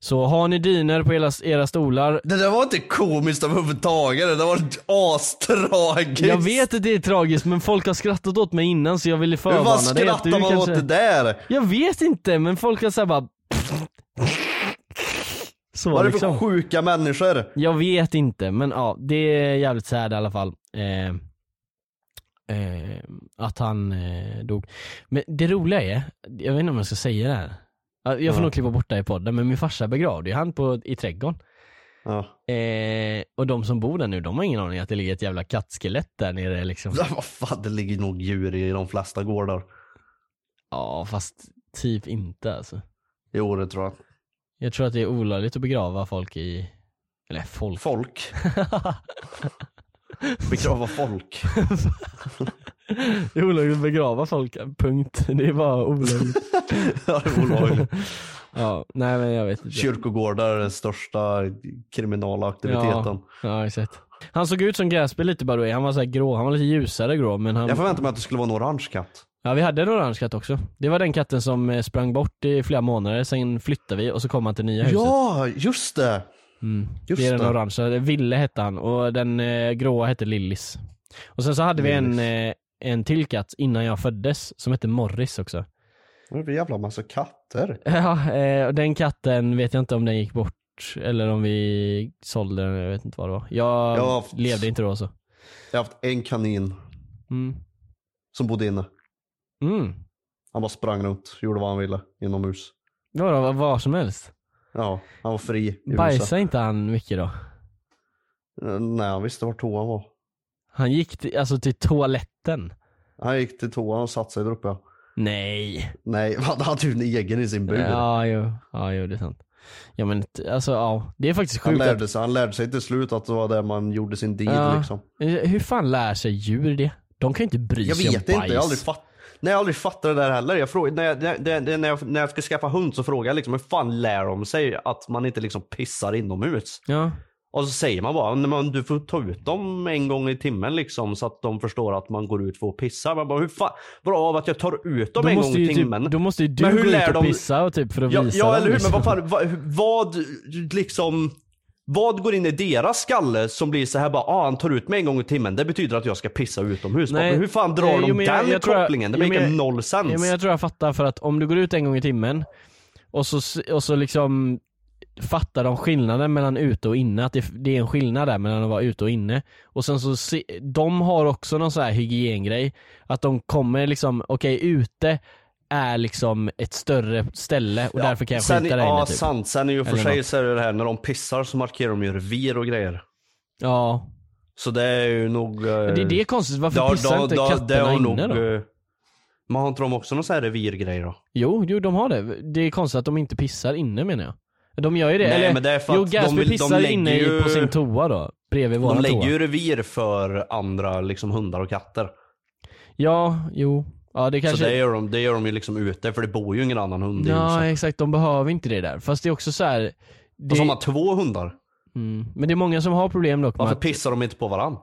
[SPEAKER 2] Så har ni dyner på era, era stolar.
[SPEAKER 1] Det där var inte komiskt överhuvudtaget, det där var astragiskt.
[SPEAKER 2] Jag vet att det är tragiskt men folk har skrattat åt mig innan så jag ville förvarna
[SPEAKER 1] Hur fan
[SPEAKER 2] dig att
[SPEAKER 1] skrattar man
[SPEAKER 2] kanske-
[SPEAKER 1] åt det där?
[SPEAKER 2] Jag vet inte men folk har såhär bara så
[SPEAKER 1] Vad är det för
[SPEAKER 2] liksom.
[SPEAKER 1] sjuka människor?
[SPEAKER 2] Jag vet inte men ja, det är jävligt sad i alla fall. Eh, eh, att han eh, dog. Men det roliga är, jag vet inte om jag ska säga det här. Ja, Jag får
[SPEAKER 1] Ja.
[SPEAKER 2] nog klippa bort det här i podden men min farsa begravde ju han på, i trädgården. Eh, och de som bor där nu de har ingen aning att det ligger ett jävla kattskelett där nere liksom.
[SPEAKER 1] Vad fan, det ligger nog djur i de flesta gårdar.
[SPEAKER 2] Ja fast typ inte alltså.
[SPEAKER 1] Jo det tror jag.
[SPEAKER 2] Jag tror att det är olagligt att begrava folk i, eller folk.
[SPEAKER 1] Folk? Begrava folk.
[SPEAKER 2] det är olagligt att begrava folk, punkt. Det är bara olagligt.
[SPEAKER 1] ja, det är olagligt.
[SPEAKER 2] ja, nej men jag vet inte.
[SPEAKER 1] Kyrkogårdar är den största kriminala aktiviteten.
[SPEAKER 2] Ja, ja exakt. Han såg ut som gräsby lite by the way. Han var så här grå, han var lite ljusare grå men han...
[SPEAKER 1] Jag förväntade mig att det skulle vara en orange katt.
[SPEAKER 2] Ja vi hade en orange katt också. Det var den katten som eh, sprang bort i flera månader, sen flyttade vi och så kom han till nya huset.
[SPEAKER 1] Ja, just det! Just
[SPEAKER 2] det är den
[SPEAKER 1] det.
[SPEAKER 2] orangea, Ville hette han och den eh, gråa hette Lillis. Och sen så hade vi en, eh, en till katt innan jag föddes som hette Morris också.
[SPEAKER 1] Det är en jävla massa katter.
[SPEAKER 2] Ja, eh, och den katten vet jag inte om den gick bort eller om vi sålde den, jag vet inte vad det var. Jag
[SPEAKER 1] Jag har haft-
[SPEAKER 2] levde inte då så.
[SPEAKER 1] Jag har haft en kanin
[SPEAKER 2] Mm.
[SPEAKER 1] som bodde inne.
[SPEAKER 2] Mm.
[SPEAKER 1] Han bara sprang runt, gjorde vad han ville inomhus.
[SPEAKER 2] Vadå, vad, vad som helst?
[SPEAKER 1] Ja, han var fri i
[SPEAKER 2] Bajsade
[SPEAKER 1] huset.
[SPEAKER 2] inte han mycket då?
[SPEAKER 1] Eh, Nej, han visste var toan var.
[SPEAKER 2] Han gick till, alltså till toaletten?
[SPEAKER 1] Han gick till toan och satte sig där uppe.
[SPEAKER 2] Nej.
[SPEAKER 1] Nej, han hade ju en egen i sin bur.
[SPEAKER 2] Ja, jo. ja, jo, det är sant. Ja men t- alltså ja, det är faktiskt
[SPEAKER 1] han,
[SPEAKER 2] sjukt att-
[SPEAKER 1] lärde sig, han lärde sig till slut att det var där man gjorde sin deal liksom.
[SPEAKER 2] Hur fan lär sig djur det? De kan ju inte bry
[SPEAKER 1] Jag
[SPEAKER 2] sig
[SPEAKER 1] vet
[SPEAKER 2] om
[SPEAKER 1] inte,
[SPEAKER 2] bajs.
[SPEAKER 1] jag har aldrig fattat. Nej jag har aldrig fattat det där heller. Jag frågar, när, jag, när, när, när, jag, när jag ska skaffa hund så frågar jag liksom hur fan lär de sig att man inte liksom pissar inomhus?
[SPEAKER 2] Ja.
[SPEAKER 1] Och så säger man bara, "Nej, men du får ta ut dem en gång i timmen liksom så att de förstår att man går ut för att pissa. Man bara, hur fan, bra av att jag tar ut dem
[SPEAKER 2] Då
[SPEAKER 1] en gång
[SPEAKER 2] måste ju
[SPEAKER 1] i
[SPEAKER 2] typ-
[SPEAKER 1] timmen?
[SPEAKER 2] då måste ju du gå ut och pissa och typ för att
[SPEAKER 1] ja,
[SPEAKER 2] visa
[SPEAKER 1] Ja
[SPEAKER 2] dem,
[SPEAKER 1] eller hur,
[SPEAKER 2] liksom.
[SPEAKER 1] men vad fan, vad, vad liksom, vad går in i deras skalle som blir så här bara, ah, han tar ut mig en gång i timmen, det betyder att jag ska pissa utomhus.
[SPEAKER 2] Nej.
[SPEAKER 1] Nej. Hur fan drar
[SPEAKER 2] Eh, jo,
[SPEAKER 1] de
[SPEAKER 2] men
[SPEAKER 1] den
[SPEAKER 2] jag- jag tror jag-
[SPEAKER 1] kopplingen?
[SPEAKER 2] jo,
[SPEAKER 1] det
[SPEAKER 2] men
[SPEAKER 1] maker
[SPEAKER 2] jag-
[SPEAKER 1] noll sense.
[SPEAKER 2] Ja, men jag tror jag fattar för att om du går ut en gång i timmen och så, s- och så liksom fattar de skillnaden mellan ute och inne, att det, det är en skillnad där mellan att vara ute och inne. Och sen så, se, de har också någon sån här hygiengrej, att de kommer liksom, okej ute är liksom ett större ställe och därför kan jag
[SPEAKER 1] Sen,
[SPEAKER 2] skita där inne
[SPEAKER 1] ja,
[SPEAKER 2] typ.
[SPEAKER 1] sant. Sen är ju för
[SPEAKER 2] Eller
[SPEAKER 1] sig
[SPEAKER 2] något.
[SPEAKER 1] så är det det här när de pissar så markerar de ju revir och grejer.
[SPEAKER 2] Ja,
[SPEAKER 1] Så det är ju nog... eh, Det
[SPEAKER 2] det är det konstigt. Varför pissar inte katterna inne då?
[SPEAKER 1] Man eh, har inte de också någon sån här revirgrej då?
[SPEAKER 2] Jo, jo de har det. Det är konstigt att de inte pissar inne menar jag. De gör ju det.
[SPEAKER 1] Nej,
[SPEAKER 2] Eller,
[SPEAKER 1] men det är för
[SPEAKER 2] jo,
[SPEAKER 1] att
[SPEAKER 2] Gatsby
[SPEAKER 1] de vill- de
[SPEAKER 2] pissar
[SPEAKER 1] lägger
[SPEAKER 2] inne i-
[SPEAKER 1] ju-
[SPEAKER 2] på sin toa då. Bredvid
[SPEAKER 1] De
[SPEAKER 2] våran
[SPEAKER 1] lägger
[SPEAKER 2] toa.
[SPEAKER 1] ju revir för andra liksom hundar och katter.
[SPEAKER 2] Ja, jo. Ja det kanske...
[SPEAKER 1] Så det gör, de, det gör de ju liksom ute för det bor ju ingen annan hund i
[SPEAKER 2] Ja
[SPEAKER 1] huset.
[SPEAKER 2] exakt, de behöver inte det där. Fast det är också så här.
[SPEAKER 1] Och så
[SPEAKER 2] Det...
[SPEAKER 1] har man två hundar.
[SPEAKER 2] Mm. Men det är många som har problem dock med
[SPEAKER 1] Varför
[SPEAKER 2] att...
[SPEAKER 1] pissar de inte på varandra?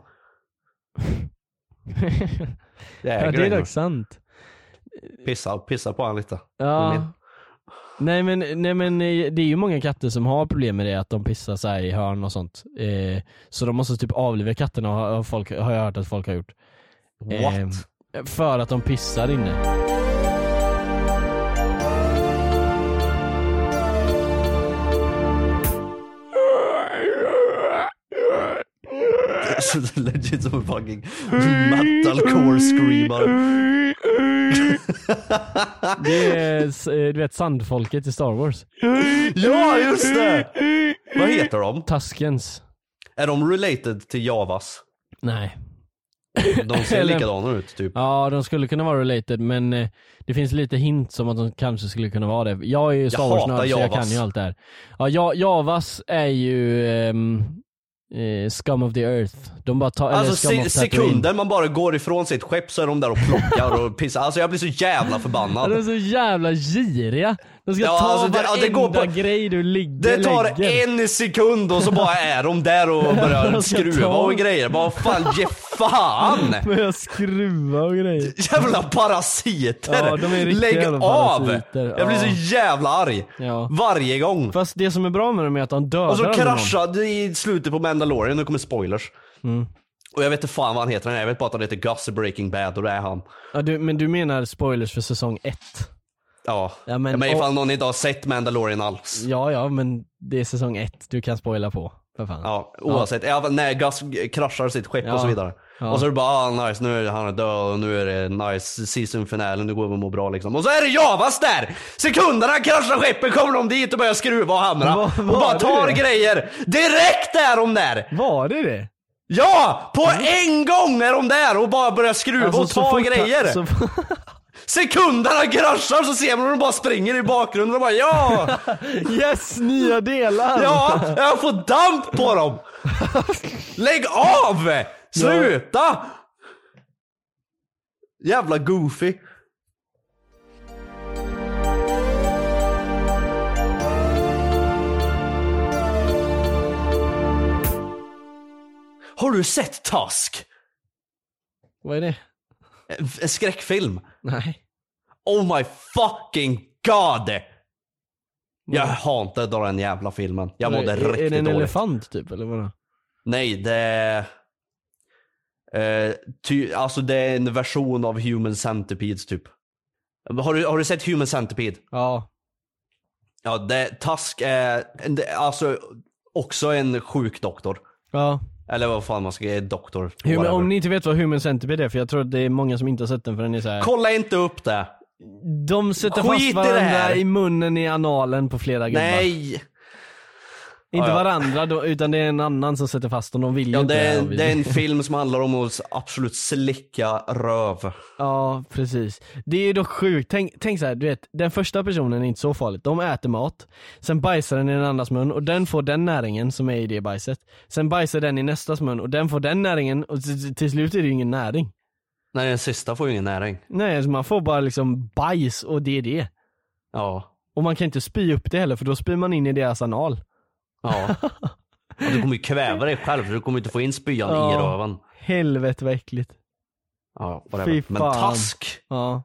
[SPEAKER 1] Det är,
[SPEAKER 2] Ja, det är
[SPEAKER 1] grejen.
[SPEAKER 2] dock sant.
[SPEAKER 1] Pissa, pissa på han lite.
[SPEAKER 2] Ja.
[SPEAKER 1] Men-
[SPEAKER 2] Nej men, nej men eh, det är ju många katter som har problem med det, att de pissar så här i hörn och sånt. Eh, så de måste typ avliva katterna har, har folk, har jag hört att folk har gjort. Ehm.
[SPEAKER 1] What?
[SPEAKER 2] för att de pissar inne.
[SPEAKER 1] Så det är legit som en fucking metalcore screamer.
[SPEAKER 2] Det är s- eh, du vet sandfolket i Star Wars.
[SPEAKER 1] Ja just det! Vad heter de?
[SPEAKER 2] Taskens.
[SPEAKER 1] Är de related till javas?
[SPEAKER 2] Nej.
[SPEAKER 1] De ser
[SPEAKER 2] Eller-
[SPEAKER 1] likadana ut typ.
[SPEAKER 2] Ja de skulle kunna vara related men eh, det finns lite hint som att de kanske skulle kunna vara det. Jag är ju Star
[SPEAKER 1] Jag
[SPEAKER 2] Wars-nörd
[SPEAKER 1] hatar
[SPEAKER 2] så jag
[SPEAKER 1] Javas.
[SPEAKER 2] kan ju allt det här. Ja, ja Javas är ju ehm, eh, scum of the earth. De bara tar,
[SPEAKER 1] Alltså
[SPEAKER 2] eller scum
[SPEAKER 1] se
[SPEAKER 2] of Tatooine.
[SPEAKER 1] sekunden man bara går ifrån sitt skepp så är de där och plockar och pissar. Alltså jag blir så jävla
[SPEAKER 2] Ja, De är
[SPEAKER 1] förbannad.
[SPEAKER 2] så jävla giriga. De ska
[SPEAKER 1] Ja,
[SPEAKER 2] ta
[SPEAKER 1] alltså det-
[SPEAKER 2] varenda
[SPEAKER 1] ja, det går på-
[SPEAKER 2] grej du ligger
[SPEAKER 1] Det tar
[SPEAKER 2] lägger.
[SPEAKER 1] en sekund och så bara är de där och börjar
[SPEAKER 2] Jag ska
[SPEAKER 1] skruva
[SPEAKER 2] ta-
[SPEAKER 1] och grejer. Vad fan, ge fan!
[SPEAKER 2] Börjar skruva och grejer.
[SPEAKER 1] Jävla parasiter!
[SPEAKER 2] Ja, de är riktiga
[SPEAKER 1] Lägg
[SPEAKER 2] jävla
[SPEAKER 1] av!
[SPEAKER 2] parasiter,
[SPEAKER 1] Jag blir
[SPEAKER 2] ja.
[SPEAKER 1] så jävla arg.
[SPEAKER 2] Ja.
[SPEAKER 1] Varje gång.
[SPEAKER 2] Fast det som är bra med dem är att de dödar
[SPEAKER 1] Och så
[SPEAKER 2] aldrig någon.
[SPEAKER 1] kraschade i slutet på Mandalorian, nu kommer spoilers.
[SPEAKER 2] Mm.
[SPEAKER 1] Och jag vet inte fan vad han heter, jag vet bara att han heter Gus i Breaking Bad och det är han.
[SPEAKER 2] Ja, du, men du menar spoilers för säsong ett?
[SPEAKER 1] Ja.
[SPEAKER 2] Ja men,
[SPEAKER 1] Men, men ifall
[SPEAKER 2] och-
[SPEAKER 1] någon inte har sett Mandalorian alls.
[SPEAKER 2] ja, ja men det är säsong ett du kan spoila på. För fan.
[SPEAKER 1] Ja, oavsett. Ja. men när Gus kraschar sitt skepp
[SPEAKER 2] Ja.
[SPEAKER 1] och så vidare.
[SPEAKER 2] Ja.
[SPEAKER 1] Och så är det bara ah, nice, nu är han död och nu är det nice season finale, nu går vi och mår bra liksom. Och så är det Javas där! Sekunderna han kraschar skeppet kommer de dit och börjar skruva och hamra.
[SPEAKER 2] Va-
[SPEAKER 1] och
[SPEAKER 2] var
[SPEAKER 1] bara
[SPEAKER 2] det
[SPEAKER 1] tar
[SPEAKER 2] det?
[SPEAKER 1] grejer. Direkt är de där!
[SPEAKER 2] Var det det?
[SPEAKER 1] Ja! På en gång är de där och bara börjar skruva
[SPEAKER 2] Mm. Alltså,
[SPEAKER 1] och
[SPEAKER 2] så
[SPEAKER 1] ta
[SPEAKER 2] fort-
[SPEAKER 1] grejer.
[SPEAKER 2] så-
[SPEAKER 1] Sekunderna kraschar så ser man hur de bara springer i bakgrunden och bara ja!
[SPEAKER 2] Yes, nya delar!
[SPEAKER 1] Ja, jag får damp på dem! Lägg av! Sluta! Jävla goofy. Har du sett Task?
[SPEAKER 2] Vad är det?
[SPEAKER 1] En- En skräckfilm?
[SPEAKER 2] Nej.
[SPEAKER 1] Oh my fucking god! Jag hatade den jävla filmen. Jag mådde
[SPEAKER 2] Mm. är,
[SPEAKER 1] riktigt
[SPEAKER 2] Är det en
[SPEAKER 1] dåligt.
[SPEAKER 2] elefant typ eller vadå?
[SPEAKER 1] Nej, det är... Eh, ty, alltså det är en version av Human Centipedes typ. Har du, har du sett Human Centipede?
[SPEAKER 2] Ja.
[SPEAKER 1] Ja, det, Task är en- det, alltså också en sjuk doktor.
[SPEAKER 2] Ja.
[SPEAKER 1] Eller vad fan man ska säga, doktor.
[SPEAKER 2] Human,
[SPEAKER 1] whatever.
[SPEAKER 2] om ni inte vet vad Human Centipede är, för jag tror att det är många som inte har sett den för den är såhär
[SPEAKER 1] Kolla inte upp det.
[SPEAKER 2] De sätter
[SPEAKER 1] Skit i
[SPEAKER 2] fast
[SPEAKER 1] det här.
[SPEAKER 2] varandra i munnen i analen på flera gubbar.
[SPEAKER 1] Nej!
[SPEAKER 2] Inte
[SPEAKER 1] Ja, ja.
[SPEAKER 2] varandra då, utan det är en annan som sätter fast dem, de vill ju
[SPEAKER 1] Ja,
[SPEAKER 2] inte
[SPEAKER 1] det,
[SPEAKER 2] här,
[SPEAKER 1] är,
[SPEAKER 2] de vill-
[SPEAKER 1] det är en film som handlar om att absolut slicka röv.
[SPEAKER 2] Ja, precis. Det är ju dock sjukt. Tänk, tänk så här, du vet, den första personen är inte så farligt. De äter mat, sen bajsar den i den andras mun och den får den näringen som är i det bajset. Sen bajsar den i nästas mun och den får den näringen och till, till slut är det ju ingen näring.
[SPEAKER 1] Nej, den sista får ju ingen näring.
[SPEAKER 2] Nej, alltså man får bara liksom bajs och det är det.
[SPEAKER 1] Ja.
[SPEAKER 2] Och man kan inte spy upp det heller för då spyr man in i deras anal.
[SPEAKER 1] Ja. ja du kommer ju kväva dig själv för du kommer inte få in spyan i
[SPEAKER 2] Ja.
[SPEAKER 1] röven.
[SPEAKER 2] Helvete vad äckligt.
[SPEAKER 1] Ja,
[SPEAKER 2] Fy
[SPEAKER 1] whatever. Men
[SPEAKER 2] fan.
[SPEAKER 1] task.
[SPEAKER 2] Ja.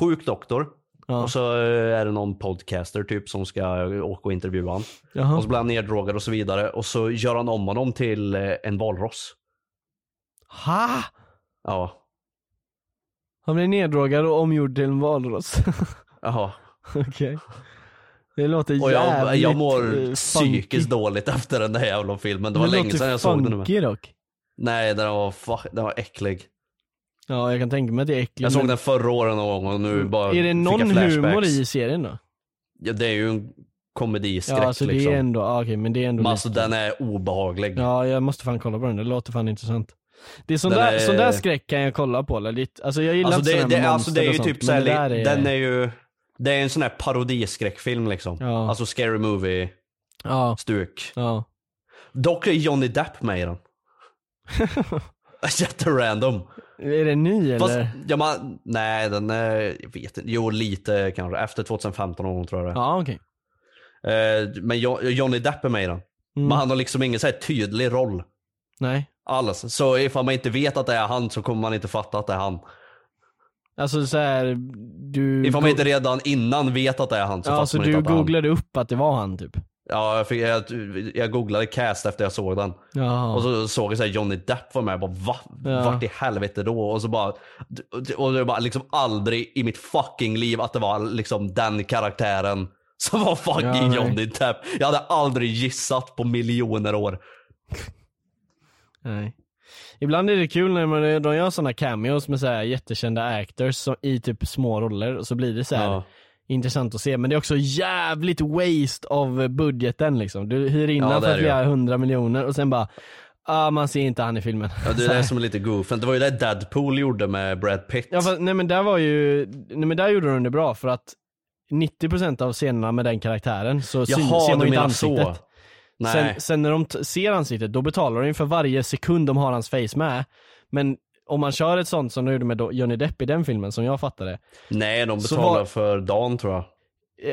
[SPEAKER 1] Sjuk doktor.
[SPEAKER 2] Ja.
[SPEAKER 1] Och så eh, är det någon podcaster typ som ska eh, åka och intervjua honom.
[SPEAKER 2] Jaha.
[SPEAKER 1] Och så blir han neddrogad och så vidare. Och så gör han om honom till eh, en valross.
[SPEAKER 2] Ha!
[SPEAKER 1] Ja.
[SPEAKER 2] Han blir neddrogad och omgjord till en valross.
[SPEAKER 1] Jaha.
[SPEAKER 2] Okej. Det låter
[SPEAKER 1] Och jag,
[SPEAKER 2] jävligt
[SPEAKER 1] jag
[SPEAKER 2] eh,
[SPEAKER 1] mår
[SPEAKER 2] funky.
[SPEAKER 1] psykiskt dåligt efter den där jävla filmen. Det var
[SPEAKER 2] Den
[SPEAKER 1] länge
[SPEAKER 2] låter
[SPEAKER 1] sedan jag såg den. nu, men-
[SPEAKER 2] funky dock.
[SPEAKER 1] Nej, den var, fuck, den var äcklig.
[SPEAKER 2] Ja, jag kan tänka mig att det är äckligt.
[SPEAKER 1] Jag såg
[SPEAKER 2] men- Mm.
[SPEAKER 1] den förra året någon gång och nu bara
[SPEAKER 2] Är det
[SPEAKER 1] fick jag
[SPEAKER 2] någon
[SPEAKER 1] flashbacks.
[SPEAKER 2] humor i serien då?
[SPEAKER 1] Ja, det är ju en komediskräck
[SPEAKER 2] Ja, alltså det
[SPEAKER 1] liksom.
[SPEAKER 2] är ändå, ah, okej men det är ändå
[SPEAKER 1] Men alltså
[SPEAKER 2] lite-
[SPEAKER 1] den är obehaglig.
[SPEAKER 2] Ja, jag måste fan kolla på den. Det låter fan intressant. Det är sån,
[SPEAKER 1] Den
[SPEAKER 2] där,
[SPEAKER 1] är-
[SPEAKER 2] sån där skräck kan jag kolla på. Eller? lite- Alltså jag gillar
[SPEAKER 1] Alltså
[SPEAKER 2] inte
[SPEAKER 1] det,
[SPEAKER 2] såna
[SPEAKER 1] det,
[SPEAKER 2] här
[SPEAKER 1] alltså det är ju
[SPEAKER 2] monster och
[SPEAKER 1] typ
[SPEAKER 2] sånt, men
[SPEAKER 1] såhär,
[SPEAKER 2] det där
[SPEAKER 1] li- den är ju, det är en sån här parodiskräckfilm liksom.
[SPEAKER 2] Ja.
[SPEAKER 1] Alltså scary movie
[SPEAKER 2] Ja,
[SPEAKER 1] stuk.
[SPEAKER 2] ja.
[SPEAKER 1] Dock är Johnny Depp med i den. Alltså, Jätterandom.
[SPEAKER 2] Är det ny
[SPEAKER 1] Fast,
[SPEAKER 2] eller?
[SPEAKER 1] ja, man, nej den är, jag vet inte, jo lite kanske, efter 2015 någon gång tror jag det är.
[SPEAKER 2] Ja, okej.
[SPEAKER 1] Eh, Men Jo- Johnny Depp är med i den. Men han har liksom ingen så här tydlig roll
[SPEAKER 2] Mm. Nej.
[SPEAKER 1] alls. Så ifall man inte vet att det är han så kommer man inte fatta att det är han.
[SPEAKER 2] Alltså så här, du...
[SPEAKER 1] Ifall man inte redan innan vet att det är han så
[SPEAKER 2] Ja,
[SPEAKER 1] fattar
[SPEAKER 2] alltså
[SPEAKER 1] man inte
[SPEAKER 2] du
[SPEAKER 1] att det är han.
[SPEAKER 2] googlade upp att det var han typ?
[SPEAKER 1] Ja, jag, fick, jag, jag googlade cast efter jag såg den.
[SPEAKER 2] Jaha.
[SPEAKER 1] Och så såg jag så här Johnny Depp var med. Jag bara, va?
[SPEAKER 2] Ja.
[SPEAKER 1] Vart i helvete då? Och så bara, och det var liksom aldrig i mitt fucking liv att det var liksom den karaktären som var
[SPEAKER 2] Ja,
[SPEAKER 1] fucking
[SPEAKER 2] nej.
[SPEAKER 1] Johnny Depp. Jag hade aldrig gissat på miljoner år.
[SPEAKER 2] Nej. Ibland är det kul när man, de gör sådana cameos med så här jättekända actors som, i typ små roller och så blir det så här
[SPEAKER 1] Ja.
[SPEAKER 2] intressant att se. Men det är också jävligt waste av budgeten liksom. Du hyr in
[SPEAKER 1] Ja,
[SPEAKER 2] ja,
[SPEAKER 1] det är
[SPEAKER 2] för
[SPEAKER 1] det
[SPEAKER 2] flera
[SPEAKER 1] ju.
[SPEAKER 2] hundra miljoner och sen bara, ah, man ser inte han i filmen.
[SPEAKER 1] Ja, det
[SPEAKER 2] Så
[SPEAKER 1] är
[SPEAKER 2] här.
[SPEAKER 1] det som är lite goofen. Det var ju det Deadpool gjorde med Brad Pitt.
[SPEAKER 2] Ja, fast, nej men där var ju, nej men där gjorde de det bra för att 90% av scenerna med den karaktären så syn,
[SPEAKER 1] Jaha,
[SPEAKER 2] ser
[SPEAKER 1] du
[SPEAKER 2] man inte
[SPEAKER 1] menar så.
[SPEAKER 2] ansiktet.
[SPEAKER 1] Nej.
[SPEAKER 2] Sen, sen när de t- ser ansiktet, då betalar de ju för varje sekund de har hans face med. Men om man kör ett sånt som de gjorde med Do- Johnny Depp i den filmen, som jag fattade
[SPEAKER 1] Nej, de
[SPEAKER 2] Så
[SPEAKER 1] betalar
[SPEAKER 2] var-
[SPEAKER 1] för dagen tror jag.
[SPEAKER 2] Eh,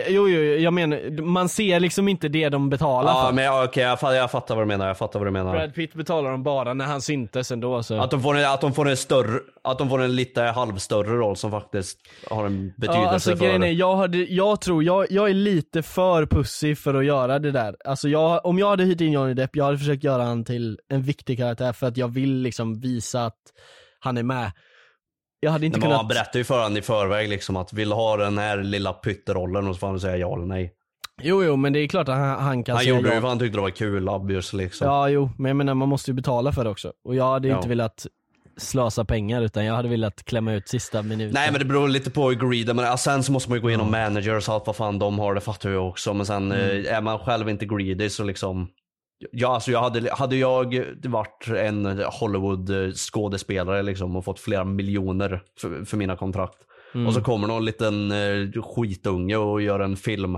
[SPEAKER 2] Jo, jo, jag menar, man ser liksom inte det de betalar
[SPEAKER 1] Ja,
[SPEAKER 2] för.
[SPEAKER 1] men ja, okej, jag, fa- jag fattar vad du menar. Jag fattar vad du menar.
[SPEAKER 2] Brad Pitt betalar dem bara när han syntes ändå så.
[SPEAKER 1] Att de, får en, att, de får en större, att de får en lite halvstörre roll som faktiskt har en betydelse
[SPEAKER 2] ja, alltså,
[SPEAKER 1] för...
[SPEAKER 2] grejen är, jag, hade, jag tror, jag, jag är lite för pussy för att göra det där. Alltså jag, om jag hade hyrt in Johnny Depp, jag hade försökt göra han till en viktig karaktär för att jag vill liksom visa att han är med. Jag hade inte
[SPEAKER 1] Nej, men
[SPEAKER 2] kunnat...
[SPEAKER 1] Man berättar ju för honom i förväg liksom att vill ha den här lilla pytterollen och så får han säga ja eller nej.
[SPEAKER 2] Alltså, Jo, jo, men det är klart att han, han kan
[SPEAKER 1] han
[SPEAKER 2] säga
[SPEAKER 1] gjorde det
[SPEAKER 2] ja.
[SPEAKER 1] ju för han tyckte det var kul, obvious liksom.
[SPEAKER 2] Ja, jo, men jag menar man måste ju betala för det också. Och jag hade ju
[SPEAKER 1] Ja.
[SPEAKER 2] inte velat slösa pengar utan jag hade velat klämma ut sista minuten.
[SPEAKER 1] Nej men det beror lite på hur greeden man är. Sen så måste man ju gå igenom managers och allt vad fan de har, det fattar jag också. Men sen
[SPEAKER 2] Mm.
[SPEAKER 1] eh, är man själv inte greedy så liksom. Ja, alltså jag hade, hade jag varit en Hollywood-skådespelare liksom och fått flera miljoner för, för mina kontrakt.
[SPEAKER 2] Mm.
[SPEAKER 1] Och så kommer någon liten eh, skitunge och gör en film.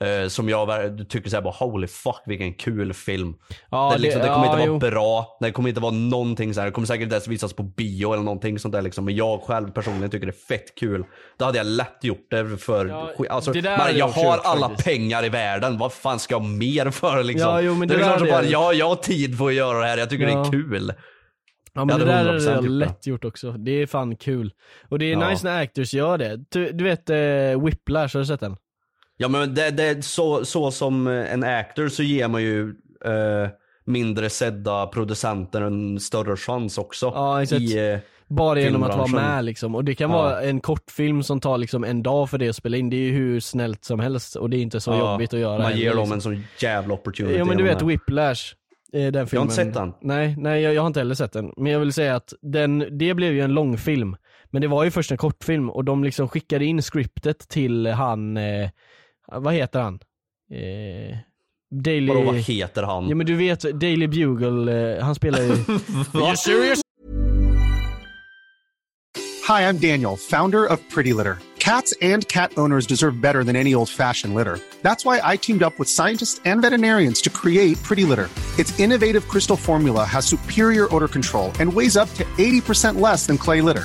[SPEAKER 1] Eh, som jag ver- tycker såhär bara holy fuck vilken kul film.
[SPEAKER 2] Ja,
[SPEAKER 1] det, liksom,
[SPEAKER 2] det-
[SPEAKER 1] det kommer
[SPEAKER 2] ja,
[SPEAKER 1] inte
[SPEAKER 2] jo.
[SPEAKER 1] vara bra, det kommer inte vara någonting såhär, det kommer säkert inte ens visas på bio eller någonting sånt där liksom. Men jag själv personligen tycker det är fett kul. Då hade jag lätt gjort det för, skit- alltså,
[SPEAKER 2] det där
[SPEAKER 1] man,
[SPEAKER 2] hade
[SPEAKER 1] jag
[SPEAKER 2] jag också
[SPEAKER 1] har
[SPEAKER 2] gjort,
[SPEAKER 1] alla
[SPEAKER 2] faktiskt.
[SPEAKER 1] pengar i världen, vad fan ska jag ha mer för liksom?
[SPEAKER 2] Ja, jo, men
[SPEAKER 1] det, är
[SPEAKER 2] det där
[SPEAKER 1] klart som
[SPEAKER 2] hade
[SPEAKER 1] fan,
[SPEAKER 2] jag gjort.
[SPEAKER 1] jag, jag har tid för att göra det här, jag tycker det
[SPEAKER 2] Ja.
[SPEAKER 1] är kul.
[SPEAKER 2] Ja
[SPEAKER 1] Jag
[SPEAKER 2] men det
[SPEAKER 1] hade
[SPEAKER 2] där hade
[SPEAKER 1] 100%
[SPEAKER 2] jag
[SPEAKER 1] gjort det.
[SPEAKER 2] lätt gjort också, det är fan kul. Och det är
[SPEAKER 1] Ja.
[SPEAKER 2] nice när actors gör det. Du, du vet eh, Whiplash, har du sett den?
[SPEAKER 1] Ja men det, det, så, så som eh, en actor så ger man ju eh, mindre sedda producenter en större chans också.
[SPEAKER 2] Ja exakt.
[SPEAKER 1] I, eh,
[SPEAKER 2] Bara genom att vara
[SPEAKER 1] filmbranschen.
[SPEAKER 2] med liksom. Och det kan
[SPEAKER 1] Ja.
[SPEAKER 2] vara en kortfilm som tar liksom en dag för det att spela in. Det är ju hur snällt som helst och det är inte så
[SPEAKER 1] ja,
[SPEAKER 2] jobbigt att göra.
[SPEAKER 1] Man
[SPEAKER 2] heller,
[SPEAKER 1] ger dem
[SPEAKER 2] liksom.
[SPEAKER 1] en sån jävla opportunity.
[SPEAKER 2] Ja men du
[SPEAKER 1] genom
[SPEAKER 2] vet
[SPEAKER 1] det.
[SPEAKER 2] Whiplash, eh, den filmen.
[SPEAKER 1] Jag har inte sett den.
[SPEAKER 2] Nej, nej jag, jag har inte heller sett den. Men jag vill säga att den, det blev ju en långfilm. Men det var ju först en kortfilm och de liksom skickade in scriptet till han, eh, vad heter han? Eh, Daily...
[SPEAKER 1] Vadå, vad heter han?
[SPEAKER 2] Ja men du vet Daily Bugle, eh, han spelar ju...
[SPEAKER 1] Are you serious?
[SPEAKER 9] Hi, I'm Daniel, founder of Pretty Litter. Cats and cat owners deserve better than any old fashioned litter. That's why I teamed up with scientists and veterinarians to create Pretty Litter. Its innovative crystal formula has superior odor control and weighs up to 80% less than clay litter.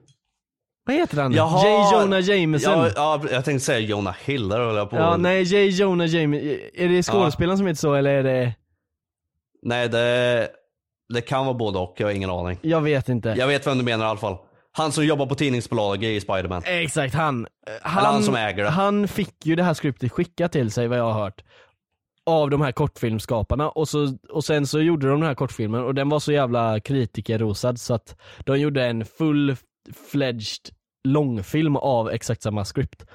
[SPEAKER 2] Vad heter han?
[SPEAKER 1] Jaha.
[SPEAKER 2] J. Jonah Jameson.
[SPEAKER 1] Ja, ja, jag tänkte säga Jonah Hill, där höll jag på.
[SPEAKER 2] Ja, nej, J. Jonah Jameson. Är det skådespelaren som heter så eller är det...
[SPEAKER 1] Nej, det, det kan vara både och, jag har ingen aning.
[SPEAKER 2] Jag vet inte.
[SPEAKER 1] Jag vet vem du menar i alla fall. Han som jobbar på tidningsbolaget i Spiderman.
[SPEAKER 2] Exakt, han.
[SPEAKER 1] han som äger det.
[SPEAKER 2] Han fick ju det här skriptet skickat till sig vad jag har hört. Av de här kortfilmskaparna och, så, och sen så gjorde de den här kortfilmen och den var så jävla kritikerrosad så att de gjorde en full-fledged långfilm av exakt samma skript.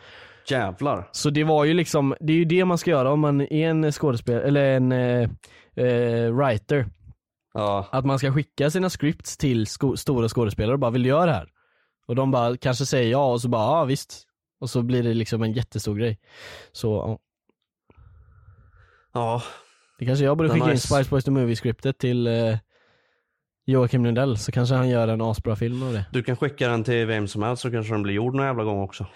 [SPEAKER 1] Jävlar.
[SPEAKER 2] Så det var ju liksom, det är ju det man ska göra om man är en skådespelare, eller en eh, eh, writer. Att man ska skicka sina scripts till sko- stora skådespelare och bara vill du göra det här? Och de bara kanske säger ja och så bara ja visst. Och så blir det liksom en jättestor grej. Så ja.
[SPEAKER 1] Ja.
[SPEAKER 2] Det kanske jag borde
[SPEAKER 1] Det är
[SPEAKER 2] skicka
[SPEAKER 1] nice.
[SPEAKER 2] in Spice Boys the Movie-skriptet till eh, Joakim Lundell så kanske han gör en asbra film av det.
[SPEAKER 1] Du kan skicka den till vem som helst så kanske den blir gjord någon jävla gång också.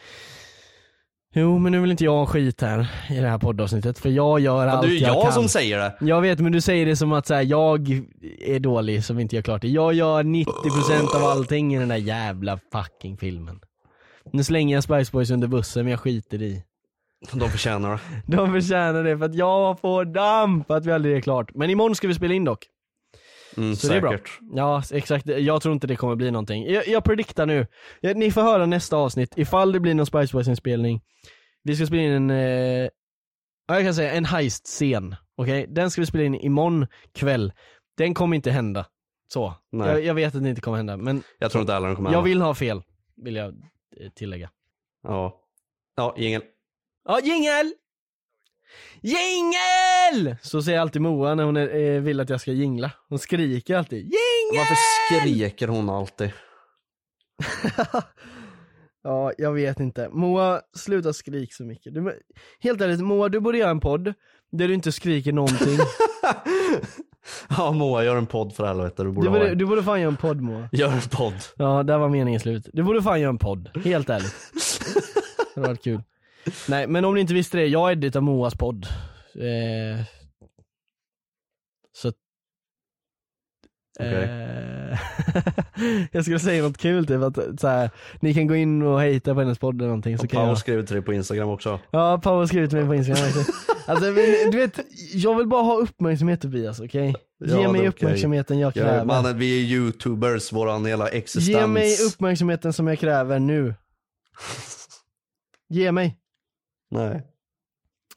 [SPEAKER 2] Jo, men nu vill inte jag ha skit här i det här poddavsnittet för jag gör
[SPEAKER 1] Ja,
[SPEAKER 2] allt
[SPEAKER 1] det är ju
[SPEAKER 2] jag,
[SPEAKER 1] jag
[SPEAKER 2] kan.
[SPEAKER 1] som säger det.
[SPEAKER 2] Jag vet, men du säger det som att så här, jag är dålig som inte gör klart det. Jag gör 90% av allting i den där jävla fucking filmen. Nu slänger jag Spice Boys under bussen men jag skiter i.
[SPEAKER 1] De förtjänar det.
[SPEAKER 2] De förtjänar det för att jag får damp att vi aldrig är klart. Men imorgon ska vi spela in dock.
[SPEAKER 1] Mm,
[SPEAKER 2] Så
[SPEAKER 1] säkert.
[SPEAKER 2] det är bra. Ja, exakt. Jag tror inte det kommer bli någonting. Jag, jag prediktar nu. Ja, Ni får höra nästa avsnitt ifall det blir någon Spice Boys-inspelning. Vi ska spela in en, eh, ja, jag kan säga en heist-scen. Okej? Den ska vi spela in imorgon kväll. Den kommer inte hända. Så.
[SPEAKER 1] Nej.
[SPEAKER 2] Jag, jag vet att det inte kommer hända, men
[SPEAKER 1] Jag tror inte heller de kommer
[SPEAKER 2] jag
[SPEAKER 1] hända.
[SPEAKER 2] vill ha fel. Vill jag eh, tillägga.
[SPEAKER 1] Ja. Ja, jingel.
[SPEAKER 2] Ja, jingel! Jingel! Så säger alltid Moa när hon är, eh, vill att jag ska jingla. Hon skriker alltid jingel!
[SPEAKER 1] Varför skriker hon alltid?
[SPEAKER 2] Ja, jag vet inte. Moa, sluta skrik så mycket. Du, helt ärligt, Moa, du borde göra en podd där du inte skriker någonting.
[SPEAKER 1] Ja, Moa, gör en podd för helvete. Du borde,
[SPEAKER 2] Du
[SPEAKER 1] ha
[SPEAKER 2] borde,
[SPEAKER 1] en.
[SPEAKER 2] du borde fan göra en podd Moa.
[SPEAKER 1] Gör en podd.
[SPEAKER 2] Ja, där var meningen slut. Du borde fan göra en podd, helt ärligt. Det hade varit kul. Nej, men om ni inte visste det, jag editar Moas podd. Eh, så att-
[SPEAKER 1] Okej.
[SPEAKER 2] eh, Jag skulle säga något kul typ att så här, ni kan gå in och hejta på hennes podd eller någonting så
[SPEAKER 1] Och
[SPEAKER 2] kan
[SPEAKER 1] Paul
[SPEAKER 2] jag...
[SPEAKER 1] skriver till dig på Instagram också.
[SPEAKER 2] Ja, Pau har skrivit till mig på Instagram också. Alltså, men, du vet, jag vill bara ha uppmärksamhet Tobias, okej? Ge
[SPEAKER 1] Ja, det
[SPEAKER 2] mig
[SPEAKER 1] är okej.
[SPEAKER 2] uppmärksamheten jag
[SPEAKER 1] Ja,
[SPEAKER 2] kräver.
[SPEAKER 1] Mannen, vi är youtubers, våran hela existens.
[SPEAKER 2] Ge mig uppmärksamheten som jag kräver nu. Ge mig.
[SPEAKER 1] Nej.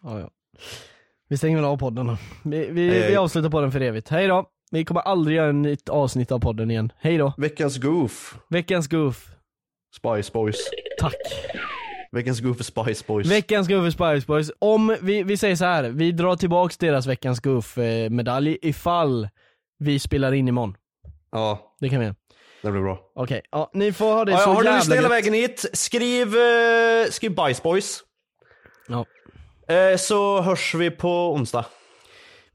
[SPEAKER 2] Ja, ja. Vi stänger väl av podden då. Vi, vi,
[SPEAKER 1] Hej, hej.
[SPEAKER 2] vi avslutar podden för evigt. Hej då. Vi kommer aldrig göra ett nytt avsnitt av podden igen. Hej då.
[SPEAKER 1] Veckans goof.
[SPEAKER 2] Veckans goof.
[SPEAKER 1] Spice Boys.
[SPEAKER 2] Tack.
[SPEAKER 1] Veckans goof är Spice Boys.
[SPEAKER 2] Veckans goof för Spice Boys. Om vi, vi säger så här, vi drar tillbaks deras veckans goof eh, medalj ifall vi spelar in imorgon.
[SPEAKER 1] ja,
[SPEAKER 2] Det kan vi göra.
[SPEAKER 1] det blir bra.
[SPEAKER 2] Okej, ja, ni får ha det
[SPEAKER 1] Ja,
[SPEAKER 2] så
[SPEAKER 1] har du
[SPEAKER 2] jävla
[SPEAKER 1] lyssnat hela
[SPEAKER 2] gött.
[SPEAKER 1] vägen hit, skriv, eh, skriv Bice Boys.
[SPEAKER 2] Ja.
[SPEAKER 1] Eh, så hörs vi på onsdag.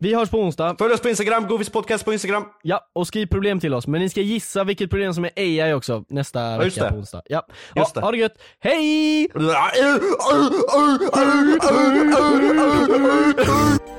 [SPEAKER 2] Vi hörs på onsdag.
[SPEAKER 1] Följ oss på Instagram, Goofies podcast på Instagram.
[SPEAKER 2] Ja, och skriv problem till oss. Men ni ska gissa vilket problem som är AI också nästa
[SPEAKER 1] just
[SPEAKER 2] vecka
[SPEAKER 1] det.
[SPEAKER 2] på onsdag. Ja,
[SPEAKER 1] Just
[SPEAKER 2] ja
[SPEAKER 1] det.
[SPEAKER 2] ha det gött. Hej!